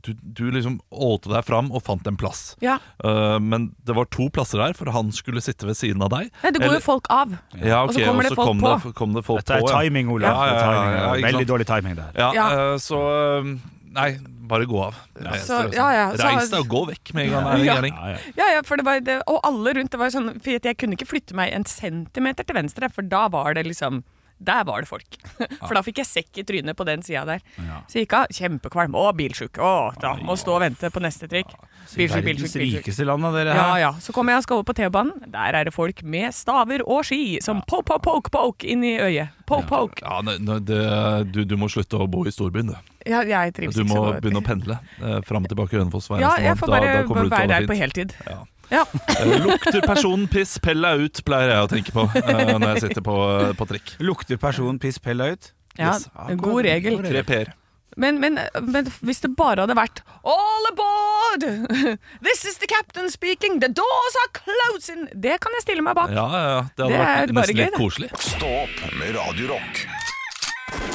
S5: du, du liksom ålte deg fram og fant en plass.
S3: Ja.
S5: Eh, Men det var to plasser der, for han skulle sitte ved siden av deg.
S3: Nei, det går jo folk av.
S5: Ja,
S3: Og så
S5: ok,
S3: kommer det folk
S5: kom
S3: på.
S5: Det, kom det folk
S4: Dette er
S5: på, ja.
S4: timing, Olav.
S5: Ja, ja,
S4: Det er
S5: ja,
S4: timing,
S5: ja,
S4: Olav.
S5: ikke sant.
S4: Veldig dårlig timing der.
S5: Ja,
S3: Ja.
S5: eh, så eh, Nei, bare gå av. Reis
S3: Så-
S5: deg,
S3: ja, ja,
S5: liksom.
S3: så-
S5: Reis deg og gå vekk med en gang. Er det
S3: Ja.
S5: gærning?
S4: Ja, ja.
S3: Ja, ja, for det var, det, og alle rundt. Det var jo sånn, for jeg kunne ikke flytte meg en centimeter til venstre, for da var det liksom der var det folk. For da fikk jeg sekk i trynet på den sida der. Så jeg gikk av. Kjempekvalm. Å, bilsjuk. Å, da må stå og vente på neste trikk. Bilsjuk,
S4: Verdens
S3: bilsjuk, bilsjuk.
S4: rikeste land av dere
S3: Ja,
S4: her.
S3: ja. Så kommer jeg og skal over på T-banen. Der er det folk med staver og ski som poke, poke, poke, poke inn i øyet. Poke, poke.
S5: Ja, nei, nei, det, du, du må slutte å bo i storbyen, du.
S3: Ja, jeg trives
S5: Du må
S3: ikke så
S5: begynne å pendle eh, fram og tilbake Hønefoss hver
S3: Ja,
S5: eneste
S3: jeg
S5: måned.
S3: får
S5: Da-
S3: bare
S5: da kommer du til å ha
S3: være
S5: det
S3: der på
S5: fint.
S3: heltid.
S5: Ja.
S3: Ja.
S5: Eh, Lukter personen piss, pell deg ut, pleier jeg å tenke på eh, når jeg sitter på, på trikk.
S4: Lukter personen piss pella ut?
S3: ja.
S5: Yes.
S3: En god regel.
S5: Tre p-er.
S3: Men, men, men hvis det bare hadde vært All aboard! This is the captain speaking! The doors are closing! Det kan jeg stille meg bak.
S5: Ja, ja, ja. det hadde
S3: Det er
S5: vært
S3: bare
S5: nesten
S3: gøy,
S5: litt
S3: det.
S5: koselig.
S1: Stå opp med Radio Rock.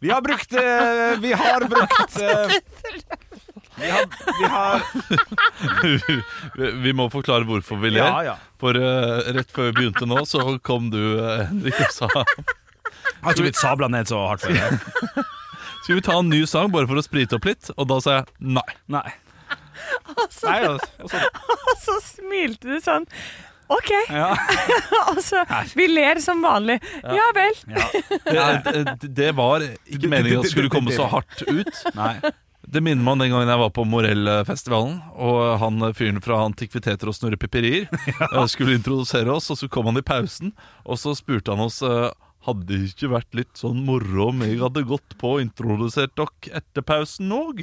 S4: Vi har brukt eh, Vi har brukt eh, vi har, vi har
S5: Vi vi må forklare hvorfor vi ler.
S4: Ja, ja.
S5: For eh, rett før vi begynte nå, så kom du, eh, Henrik, og sa
S4: Har ikke blitt sabla ned så hardt eh? for det.
S5: Skal vi ta en ny sang bare for å sprite opp litt? Og da sa jeg nei.
S4: Nei.
S3: Altså,
S4: Nei altså,
S3: Og så smilte du sånn. OK.
S4: ja.
S3: Altså, vi ler som vanlig. Ja vel.
S5: Det, det, det var ikke meningen at det skulle komme så hardt ut.
S4: Nei.
S5: Det minner meg om den gangen jeg var på Morellfestivalen, og han fyren fra Antikviteter og Snurrepiperier eh, skulle introdusere oss, og så kom han i pausen, og så spurte han oss eh, hadde det ikke vært litt sånn moro om jeg hadde gått på og introdusert dere etter pausen òg?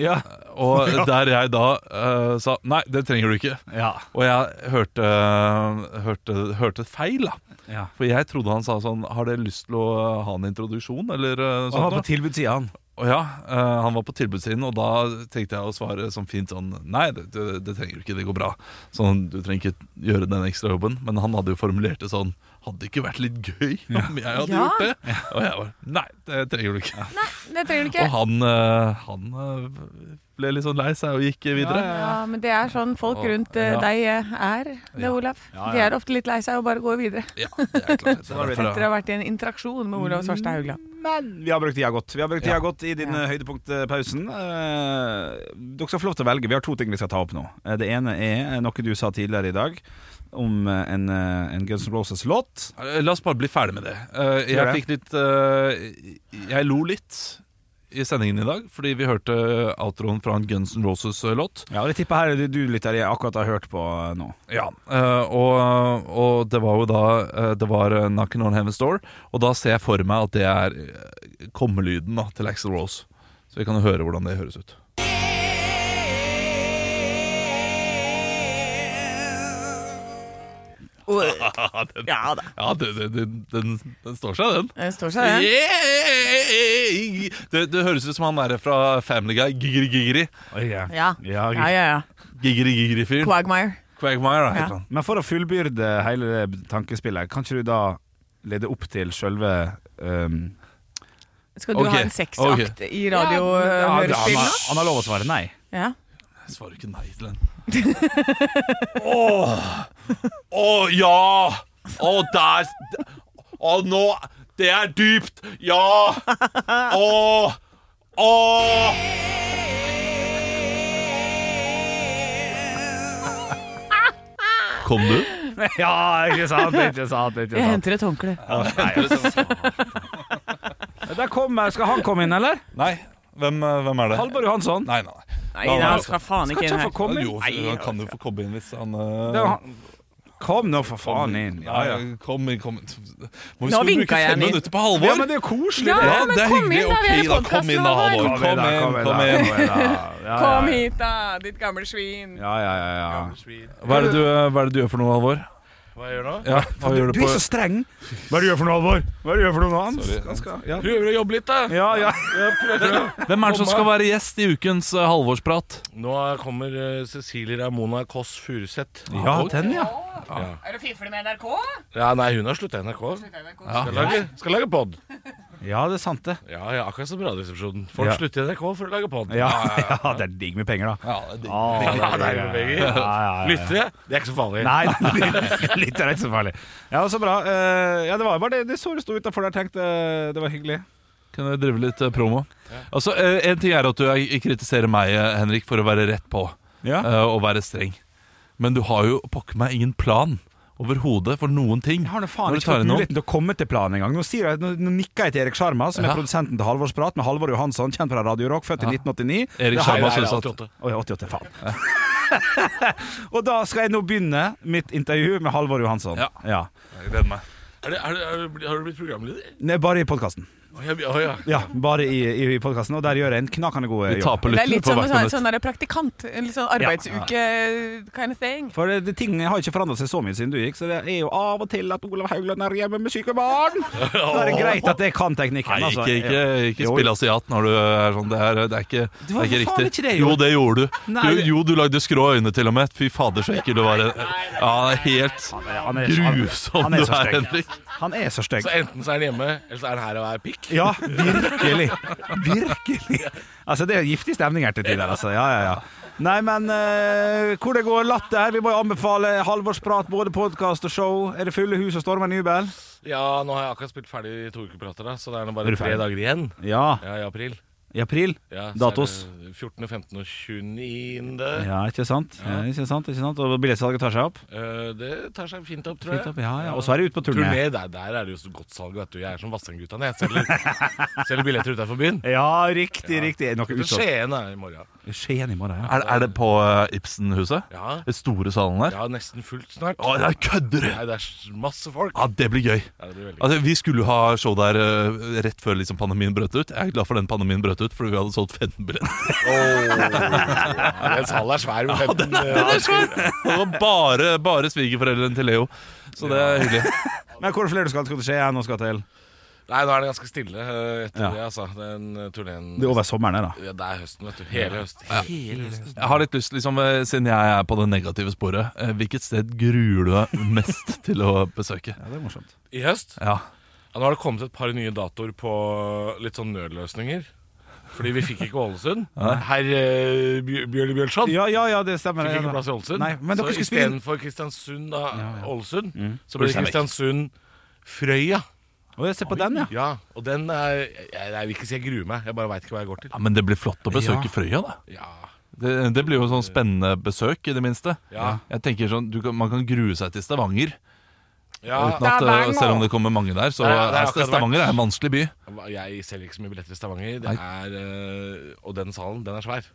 S4: Ja.
S5: Og der jeg da eh, sa nei, det trenger du ikke.
S4: Ja.
S5: Og jeg hørte, eh, hørte, hørte feil, da.
S4: ja.
S5: For jeg trodde han sa sånn Har dere lyst til å eh, ha en introduksjon, eller eh,
S4: Og
S5: sånt?
S4: har
S5: noe?»
S4: på tilbudssida han.
S5: Og ja, eh, han var på tilbudssiden, og da tenkte jeg å svare sånn fint sånn Nei, det, det, det trenger du ikke, det går bra. Sånn, Du trenger ikke gjøre den ekstra jobben. Men han hadde jo formulert det sånn Hadde det ikke vært litt gøy om jeg hadde
S3: Ja.
S5: gjort det? Og jeg bare Nei, det trenger du ikke.
S3: Nei, det trenger du
S5: Og han, eh, han eh, ble litt sånn lei seg og gikk videre.
S3: Ja, men det er sånn folk rundt eh,
S5: Ja.
S3: deg eh, er, det, Olav. De er ofte litt lei seg og bare går videre.
S5: Ja, det er klart. Det er
S3: Dere
S5: derfor,
S3: har vært i en interaksjon med Olav Svarstad Haugland.
S4: Men vi har brukt tida godt. Vi har brukt tida godt i din
S3: Ja.
S4: eh, høydepunktpausen. Eh, dere skal få lov til å velge. Vi har to ting vi skal ta opp nå. Eh, det ene er noe du sa tidligere i dag om eh, en, eh, en Guns N' Roses-låt.
S5: Eh, La oss bare bli ferdig med det. Eh,
S4: Gjør
S5: Jeg
S4: det.
S5: fikk litt eh, Jeg lo litt i sendingen i dag, fordi vi hørte outroen fra en Guns N' Roses-låt.
S4: Ja, og det tipper jeg her er det du lytter jeg akkurat har hørt på eh, nå.
S5: Ja, eh, og, og det var jo da eh, Det var eh, 'Knockin' on Heaven's Door', og da ser jeg for meg at det er eh, kommelyden da, til Axel Rose. Så vi kan jo høre hvordan det høres ut. Mm. den, ja
S3: da.
S5: den, den, den, den, den står seg, den.
S3: Det står seg, det.
S5: Yeah! Det, det høres ut som han der fra Family Guy. Gigri-gigri.
S3: Ja.
S4: Ja,
S3: Ja, ja, ja.
S5: Gigri-gigri-fyren.
S3: Quagmire.
S5: Quagmire, da,
S3: Ja.
S5: heter han.
S4: Men for å fullbyrde hele det tankespillet, kan ikke du da lede opp til sjølve ehm,
S3: Skal du
S5: Ok,
S3: ha en sexakt i
S4: han,
S3: radiohørespill
S4: har,
S3: nå?
S4: han har lov å svare nei.
S3: Ja.
S5: Jeg svarer ikke nei til den. Åh, åh, ja! Å, der Å, nå Det er dypt! Ja! Åh, åh
S10: Kom du?
S4: Ja, ikke sant, ikke sant, ikke
S3: Jeg
S4: sant.
S3: henter et håndkle.
S4: Der kommer, skal han komme inn, eller?
S5: Nei, hvem, eh, hvem er det?
S4: Halvor Johansson.
S5: Nei, nei, nei.
S3: Nei,
S5: Da-
S3: han skal faen
S4: Skal
S3: ikke
S4: ikke
S3: inn
S4: han
S3: her.
S4: få komme inn?
S5: Jo,
S4: Nei, altså.
S5: han kan jo få komme inn hvis han eh,
S4: det er han- Kom nå, for faen inn. Ja, ja.
S5: Kom inn, kom inn. Må vi
S3: Nå
S5: skal bruke
S3: vinket jeg
S5: fem
S3: den inn.
S5: minutter på
S4: ja,
S5: Halvor?
S4: men det er jo koselig,
S3: Ja,
S4: det.
S3: ja, men
S5: det er
S3: kom
S5: hyggelig.
S3: inn da, vi
S5: Ok,
S3: er i
S5: da,
S3: podcasten,
S5: kom inn da,
S3: Halvor.
S5: Halvor.
S4: Kom inn, da,
S5: Kom inn, kom inn.
S4: inn, da, kom inn, da. Ja,
S3: Kom
S4: ja, ja.
S3: hit, da, ditt gamle svin.
S4: Ja, ja, ja, ja.
S5: Hva er, det du, eh, hva er det du gjør for noe, Halvor?
S10: Hva jeg gjør nå?
S5: Ja, hva gjør du
S4: Du
S5: på
S4: er så streng. Hva er det du gjør for noe, Alvor? Hva er det du gjør for noe annet?
S5: Sorry.
S4: Ganske- Ja,
S10: Prøver å jobbe litt, da.
S4: ja. ja.
S5: Hvem er det som skal være gjest i ukens eh, Halvorsprat?
S10: Nå kommer eh, Cecilie Ramona Kåss Furuseth.
S4: ja den, ja.
S3: Er du fifler med NRK?
S10: Ja, nei, hun har slutta i NRK. Skal lage, skal lage pod.
S4: Ja, det er sant, det.
S10: Ja, ja, akkurat som Radioresepsjonen. Folk
S4: Ja.
S10: slutter i NRK for å lage pod.
S4: Ja, ja, det er digg med penger, da. Ah,
S10: Ja, det er jo begge.
S4: ja, ja, ja.
S10: Lyttere, det er ikke så farlig.
S4: Nei, litt er ikke så farlig. Ja, så bra. Eh, Ja, det var jo bare det, det såret sto utafor der, tenkte eh, det var hyggelig.
S5: Kan jeg drive litt eh, promo? Altså, eh, En ting er at du er- kritiserer meg, eh, Henrik, for å være rett på eh,
S4: Ja.
S5: og være streng. Men du har jo pokker meg ingen plan overhodet for noen ting.
S4: Jeg har nå
S5: Når
S4: faen
S5: du
S4: ikke
S5: tar
S4: fått
S5: inn noen.
S4: muligheten til å komme til planen engang. Nå, sier jeg- nå, nå nikker jeg til Erik Sjarma, som
S5: Ja.
S4: er produsenten til Halvorsprat, med Halvor Johansson, kjent fra Radio Rock, født i 1989.
S5: Erik
S4: Det har
S5: Sjarma
S4: jeg-
S5: synes at
S10: 88.
S4: Å, ja, 88, faen. Og da skal jeg nå begynne mitt intervju med Halvor Johansson.
S5: Ja.
S4: ja.
S10: Er det, er det, er det, har du blitt programleder?
S4: Nei, bare i podkasten.
S10: Å ja, å ja.
S4: Ja, bare i, i, i podkasten, og der gjør jeg en knakende god
S5: Du
S4: jobb.
S5: taper
S3: Det er
S5: lytter
S3: litt
S5: på
S3: som
S5: hvert
S3: en sånn,
S5: minutt.
S3: sånn der praktikant. En litt sånn arbeidsuke kind of thing.
S4: For det, det, ting har ikke forandra seg så mye siden du gikk, så det er jo av og til at Olav Haugland er hjemme med syke barn. Da er det greit at jeg kan teknikken.
S5: Nei,
S4: altså.
S5: ikke, ikke, ikke
S4: Jo.
S5: spill asiat når du er sånn. Det er, det er ikke, det
S4: var
S5: er ikke
S4: for faen
S5: riktig.
S4: ikke det, jo.
S5: jo, det gjorde du.
S4: Nei,
S5: du.
S4: det-
S5: Jo, du lagde skrå øyne til og med. Fy fader, så ekkel du var. Ja, det er helt
S4: Han er- han- han
S5: grusom
S4: er
S5: du
S4: så
S5: er,
S4: stygg.
S5: Henrik.
S4: Han er så stygg.
S10: Så enten så er han hjemme, eller så er han her og er pikk.
S4: Ja, virkelig. Virkelig. Altså, det er giftig stemning her til tider, altså. Ja, ja, ja. Nei, men eh, hvor det går latter. Vi må jo anbefale Halvorsprat, både podkast og show. Er det fulle hus og stormer Nybel?
S10: Ja, nå har jeg akkurat spilt ferdig to uker prater, da, så det er nå
S4: Er
S10: bare
S4: du
S10: tre
S4: ferdig?
S10: dager igjen.
S4: Ja.
S10: Ja, i april.
S4: I april.
S10: Ja, så er
S4: Datos.
S10: det 14., 15. og 29.
S4: Ja, ikke sant? Ja, ikke sant, ikke sant? Og billettsalget tar seg opp?
S10: Eh, det tar seg fint opp, tror jeg.
S4: Fint opp, ja, ja. Og så er det ut på turné.
S10: Turné, der, der er det jo så godt salg, vet du. Jeg er som Vassendgutane. Jeg selger, selger billetter utenfor byen.
S4: Ja, riktig, riktig. Er det Noe
S10: Til
S4: utsolgt.
S10: Skien er i morgen.
S4: Skien i morgen, ja.
S5: Er, er det på eh, Ibsenhuset?
S10: Ja.
S5: Den store salen der?
S10: ja, nesten fullt snart.
S5: Å, der kødder du!
S10: Nei, det er s- masse folk.
S5: Ja, det blir gøy.
S10: Ja, det blir veldig gøy.
S5: Altså, vi skulle jo ha show der eh, rett før liksom, pandemien brøt ut. Jeg er glad for den pandemien brøt ut, for vi hadde solgt 15 billetter.
S10: Ja, Den salen er svær med 15 ja,
S5: Det var bare, bare svigerforeldrene til Leo. Så det er hyggelig.
S4: Men hvor flere du skal, skal til Skien og skal til?
S10: Nei, nå er det ganske stille eh, etter
S4: Ja.
S10: det, altså. Den eh, turneen
S4: Det er over sommeren, her, da.
S10: ja, Det er høsten, vet du. Hele høsten. Hele høsten.
S5: Jeg har litt lyst, liksom, eh, siden jeg er på det negative sporet, eh, hvilket sted gruer du deg mest til å besøke?
S4: Ja, det er morsomt.
S10: I høst?
S5: Ja.
S10: Ja, nå har det kommet et par nye datoer på litt sånn nødløsninger. Fordi vi fikk ikke Ålesund. Herr eh, Bjør- Bjørli Bjørnson.
S4: Ja, ja, ja, det stemmer.
S10: Fikk
S4: ja,
S10: ikke
S4: da.
S10: plass i Ålesund.
S4: Nei, men dere
S10: så
S4: skulle spille Mm.
S10: istedenfor Kristiansund da, Ålesund, så ble det Kristiansund Frøya.
S4: Å, jeg ser på den, ja.
S10: Ja, og den er jeg, jeg vil ikke si jeg gruer meg, jeg bare veit ikke hva jeg går til.
S5: ja, Men det blir flott å besøke Frøya, da.
S10: Ja,
S5: Det, det blir jo sånn spennende besøk, i det minste.
S10: Ja.
S5: Jeg tenker sånn, du kan, Man kan grue seg til Stavanger.
S10: ja
S5: Uten at,
S3: Stavanger.
S5: eh, selv om det kommer mange der. Så
S10: Nei, det er
S5: er
S10: akkurat
S5: Stavanger er en vanskelig by.
S10: Jeg selger ikke så mye billetter i Stavanger. Det er, eh, og den salen, den er svær.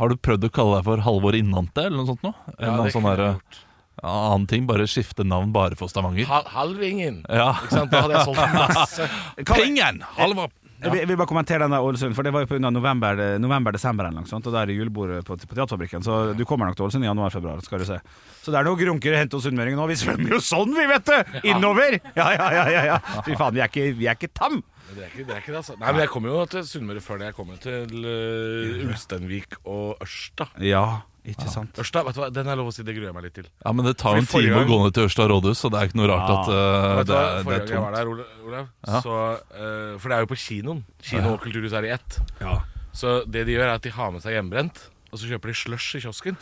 S5: Har du prøvd å kalle deg for Halvor Innante eller noe sånt nå?
S10: Ja,
S5: eller noe
S10: det
S5: sånn
S10: kunne
S5: der,
S4: eh,
S10: jeg gjort.
S5: ja, annen ting, bare skifte navn bare for Stavanger.
S10: Hal Halvingen!
S5: Ja.
S10: Ikke sant? Da hadde jeg solgt masse.
S5: Pengen! Halvor!
S4: Jeg vil- jeg vil bare kommentere den der Ålesund, for det var jo på unna november-desember november, desember eller noe sånt, og da er det julebord på, på Teaterfabrikken, så du kommer nok til Ålesund i januar-februar, skal du se. Så det er noe grunker å hente hos sunnmøringen nå, vi svømmer jo sånn, vi, vet du! Innover! Ja, ja, ja, ja, ja. Fy faen, vi er ikke, vi er ikke tam!
S10: Det er ikke det, er ikke det altså. Nei, men jeg kommer jo til Sunnmøre før det. Jeg kommer til eh, Ulsteinvik og Ørsta.
S4: Ja, ikke sant.
S10: Ørsta, vet du hva, Den er lov å si, det gruer jeg meg litt til.
S5: Ja, men det tar jo en
S10: Fordi forrige
S5: time å
S10: gang-
S5: gå ned til Ørsta rådhus, så det er ikke noe rart
S4: Ja.
S5: at eh,
S10: Vet du
S5: det,
S10: hva,
S5: er, det
S10: Forrige
S5: er
S10: gang jeg var
S5: tomt.
S10: der, Ola- Olav så, eh, For det er jo på kinoen. Kino og kulturhus er i ett.
S4: Ja.
S10: Så det de gjør, er at de har med seg hjemmebrent. Og så kjøper de slush i kiosken.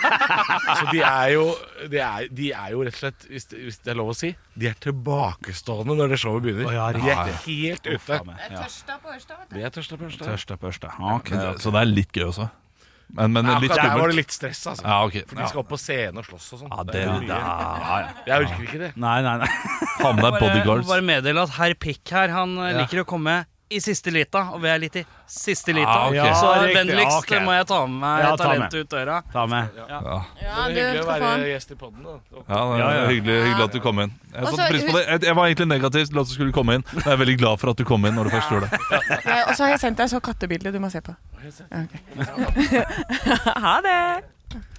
S10: så de er, jo, de, er, de er jo rett og slett, hvis det, hvis det er lov å si, de er tilbakestående når det showet begynner.
S4: Å ja,
S10: de er helt ute.
S4: Ja.
S10: De er tørsta på Ørsta.
S4: Tørsta på Ørsta. Ok,
S5: Så det er litt gøy også. Men, men litt
S11: Akkurat der var det
S5: skummelt.
S11: litt stress, altså.
S5: Ja, ok.
S11: For de
S5: Ja.
S11: skal opp på scenen og slåss og sånn.
S5: Ja, det, ja, ja.
S11: Jeg orker ikke det.
S4: Nei, nei, nei.
S5: Ha med deg
S12: Bare,
S5: bodyguards.
S12: bare meddele at herr Pick her, han eh, liker å komme i siste lita, og vi er litt i siste lita.
S5: Ah, ok.
S12: Så
S11: Ja, riktig.
S12: vennligst
S11: Ja, ok.
S12: må jeg ta med meg
S4: Ja, ta med.
S12: talentet ut døra.
S4: Ta med.
S11: Det
S13: Ja,
S11: er
S13: du
S11: hyggelig å
S13: skal få
S11: være
S13: den.
S11: gjest i podden, da.
S5: Ja, det er
S4: Ja, ja.
S5: Hyggelig, hyggelig at du kom inn. Jeg
S13: Og
S5: satte
S13: så-
S5: pris på det. Jeg, jeg var egentlig negativ til at du skulle komme inn, men jeg er veldig glad for at du kom inn. når du først gjorde det
S3: Ja, Eh, Og så har jeg sendt deg så kattebilde du må se på. Ja, ok. ha det!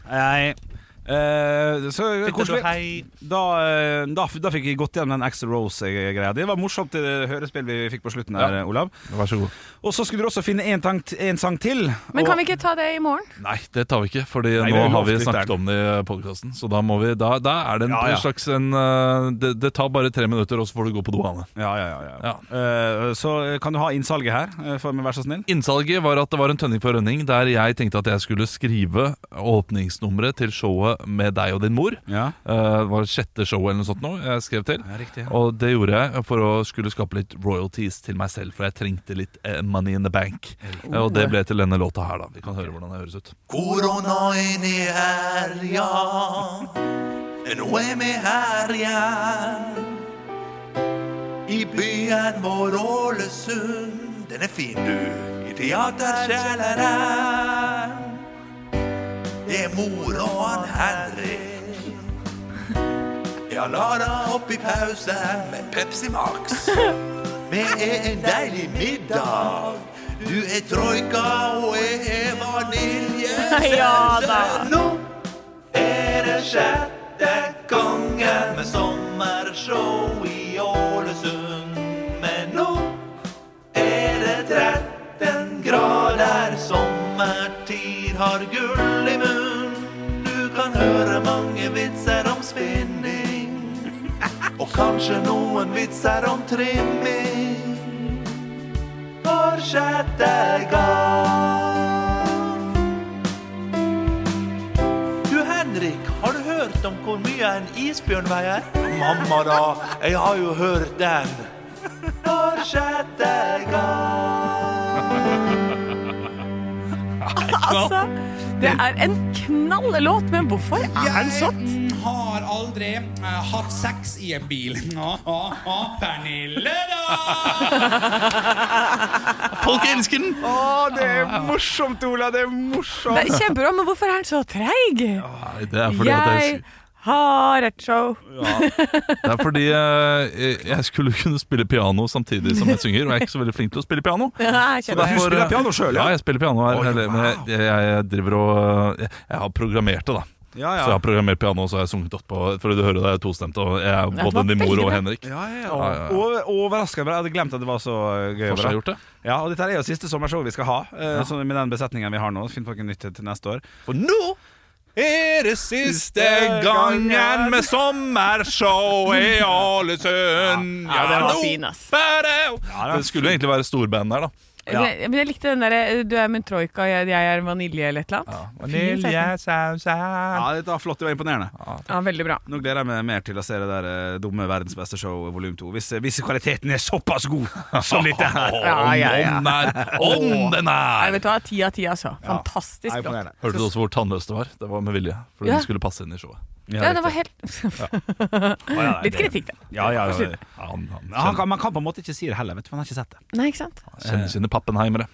S4: Nei. Eh, så koselig.
S12: Hei.
S4: Da, eh, da, f- da fikk jeg gått gjennom den Axl Rose-greia. Det var morsomt eh, hørespill vi fikk på slutten der, Olav.
S5: Vær så god.
S4: Og så skulle du også finne en, tank, en sang til.
S13: Men kan
S4: og,
S13: vi ikke ta det i morgen?
S5: Nei, det tar vi ikke, Fordi
S4: Nei, det
S5: nå
S4: er
S5: har vi
S4: lovt,
S5: snakket
S4: lytteren.
S5: om det i podkasten. Så da må vi Da, da er det en
S4: Ja, ja.
S5: slags en eh, det, det tar bare tre minutter, og så får du gå på do, Anne.
S4: Ja, ja, ja, ja. Eh, så eh, kan du ha innsalget her, eh, for meg, vær så snill?
S5: Innsalget var at det var en tønning for rønning, der jeg tenkte at jeg skulle skrive åpningsnummeret til showet med deg og din mor.
S4: Ja.
S5: Eh, det var sjette show eller noe sånt nå jeg skrev til. Og det gjorde jeg for å skulle skape litt royalties til meg selv, for jeg trengte litt eh, money in the bank. Eh, og det ble til denne låta her, da. Vi kan høre hvordan det høres ut.
S10: Koronaen i herja, nå er vi her igjen. I byen vår Ålesund, den er fin du, i teaterkjelleren. Det er mor og han Henrik. Ja, Lara opp i pausen med Pepsi Max. Vi er en deilig middag. Du er troika og jeg er vanilje.
S3: Ja da!
S10: Nå er det sjette gangen med sommershow i Ålesund. Men nå er det 13 grader, sommertid har gull i munn. Du kan høre mange vitser om spinning, og kanskje noen vitser om trimming. For sjette gang. Du Henrik, har du hørt om hvor mye en isbjørn veier? Mamma da, jeg har jo hørt den. For sjette gang.
S3: Altså, det er en knallelåt, men hvorfor er den sånn?
S14: har aldri eh, hatt sex i en bil. Ah, ah, ah, Pernille, da!
S5: Folk elsker den!
S4: Å, det er morsomt, Ola! Det er morsomt!
S3: Det er kjempebra, men hvorfor er den så treig?
S5: Nei, det er fordi at jeg,
S3: Jeg har et show.
S5: det er fordi, eh, jeg skulle kunne spille piano samtidig som jeg synger, og jeg er ikke så veldig flink til å spille piano.
S3: Ja, jeg kjenner det.
S4: du spiller piano selv, ja?
S5: eh, ja? jeg spiller piano her.
S4: Oi,
S5: eller, men jeg, jeg, jeg driver og jeg, jeg har programmert det, da.
S4: Ja,
S5: Så jeg
S4: ja.
S5: har programmert piano, så har jeg sunget oppå. For du hører det er tostemt. Og jeg er
S3: det var
S5: både din mor
S3: veldig
S5: og
S3: bra.
S5: Henrik.
S4: Ja, ja,
S5: Ja,
S4: ja.
S5: ja, ja.
S4: Over- Overraskende bra. Jeg hadde glemt at det var så eh, gøy. og
S5: Forstår jeg
S4: bra.
S5: gjort det?
S4: Ja, og Dette er jo siste sommershow vi skal ha, eh, så med den besetningen vi har nå. Finn på noe nytt til neste år.
S5: For nå er det siste gangen med sommershow i Ålesund.
S3: Ja, den var
S5: nå
S3: fin, ass.
S5: er det- Det skulle jo egentlig være storband der, da.
S4: Ja.
S3: Men jeg- Men jeg likte den derre 'du er min troika, jeg, jeg er vanilje' eller et eller annet. Fin setning.
S4: Ja, dette var flott. Det var imponerende.
S3: Ja, veldig bra.
S4: Nå gleder jeg meg mer til å se det der eh, dumme Verdens beste show volum 2. Hvis, eh, hvis kvaliteten er såpass god som dette her.
S3: Ja, ja, ja.
S5: Om den er! Om den
S3: Nei,
S5: er!
S3: vet du hva, ti av ti, altså. Fantastisk
S4: Nei,
S3: låt.
S4: imponerende.
S5: Hørte du også hvor tannløs det var? Det var med vilje. Fordi
S3: Ja.
S5: det skulle passe inn i showet.
S3: Ja, det var helt
S4: ja,
S3: Litt
S4: det-
S3: kritikk, da.
S4: Ja, ja, ja.
S5: Han, han,
S4: Ja, Han kan, man kan på en måte ikke si det heller, vet du, for han har ikke sett det.
S3: Nei, ikke sant?
S5: kjenner sine pappenheimere.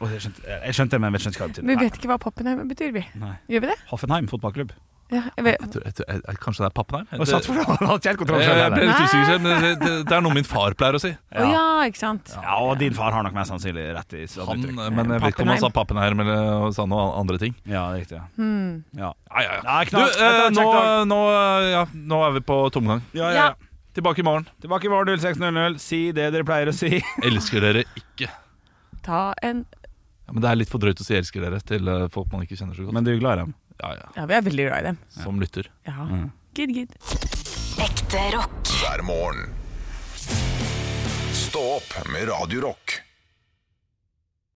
S4: Og jeg, skjønte, eh, jeg skjønte det, men jeg vet ikke hva det betyr.
S3: Vi vet ikke hva Pappenheim betyr, vi.
S4: Nei.
S3: Gjør vi det?
S4: Nei. Hoffenheim fotballklubb.
S3: Ja, jeg vet.
S5: Jeg tror- jeg tror- jeg- jeg- Kanskje det er pappenheim?
S4: Og sats for det, han har ikke helt kontroll
S5: Jeg,
S4: selv,
S5: jeg ble
S4: eller?
S5: litt usikker selv, men det, det, det er noe min far pleier å si.
S3: Å ja, ikke sant.
S4: Ja, og din far har nok mest sannsynlig rett i sånn
S5: Han,
S4: uttrykk.
S5: men jeg vet ikke om han sa
S3: Pappenheim.
S5: pappenheim eller sa noe andre ting.
S4: Ja, det er riktig. Ja.
S3: Hmm.
S4: Ja.
S5: Ja, ja, ja.
S4: Nei,
S5: Du, eh,
S4: knapt. Dette er
S5: nå,
S4: kjekt dag.
S5: nå, eh, ja, nå er vi på tomgang.
S4: ja, ja,
S3: Ja.
S4: ja.
S5: Tilbake i morgen.
S4: Tilbake i vår 0600. Si det dere pleier å si.
S5: Elsker dere ikke.
S3: Ta en
S5: Ja, men Det er litt for drøyt å si 'elsker dere' til eh, folk man ikke kjenner så godt.
S4: Men du er glad i dem.
S5: ja, ja,
S3: Ja, vi er veldig glad i dem.
S5: Som lytter.
S3: Ja.
S4: Mm.
S3: Gid, gid.
S8: Ekte rock.
S1: hver morgen. Stå opp med Radio Rock.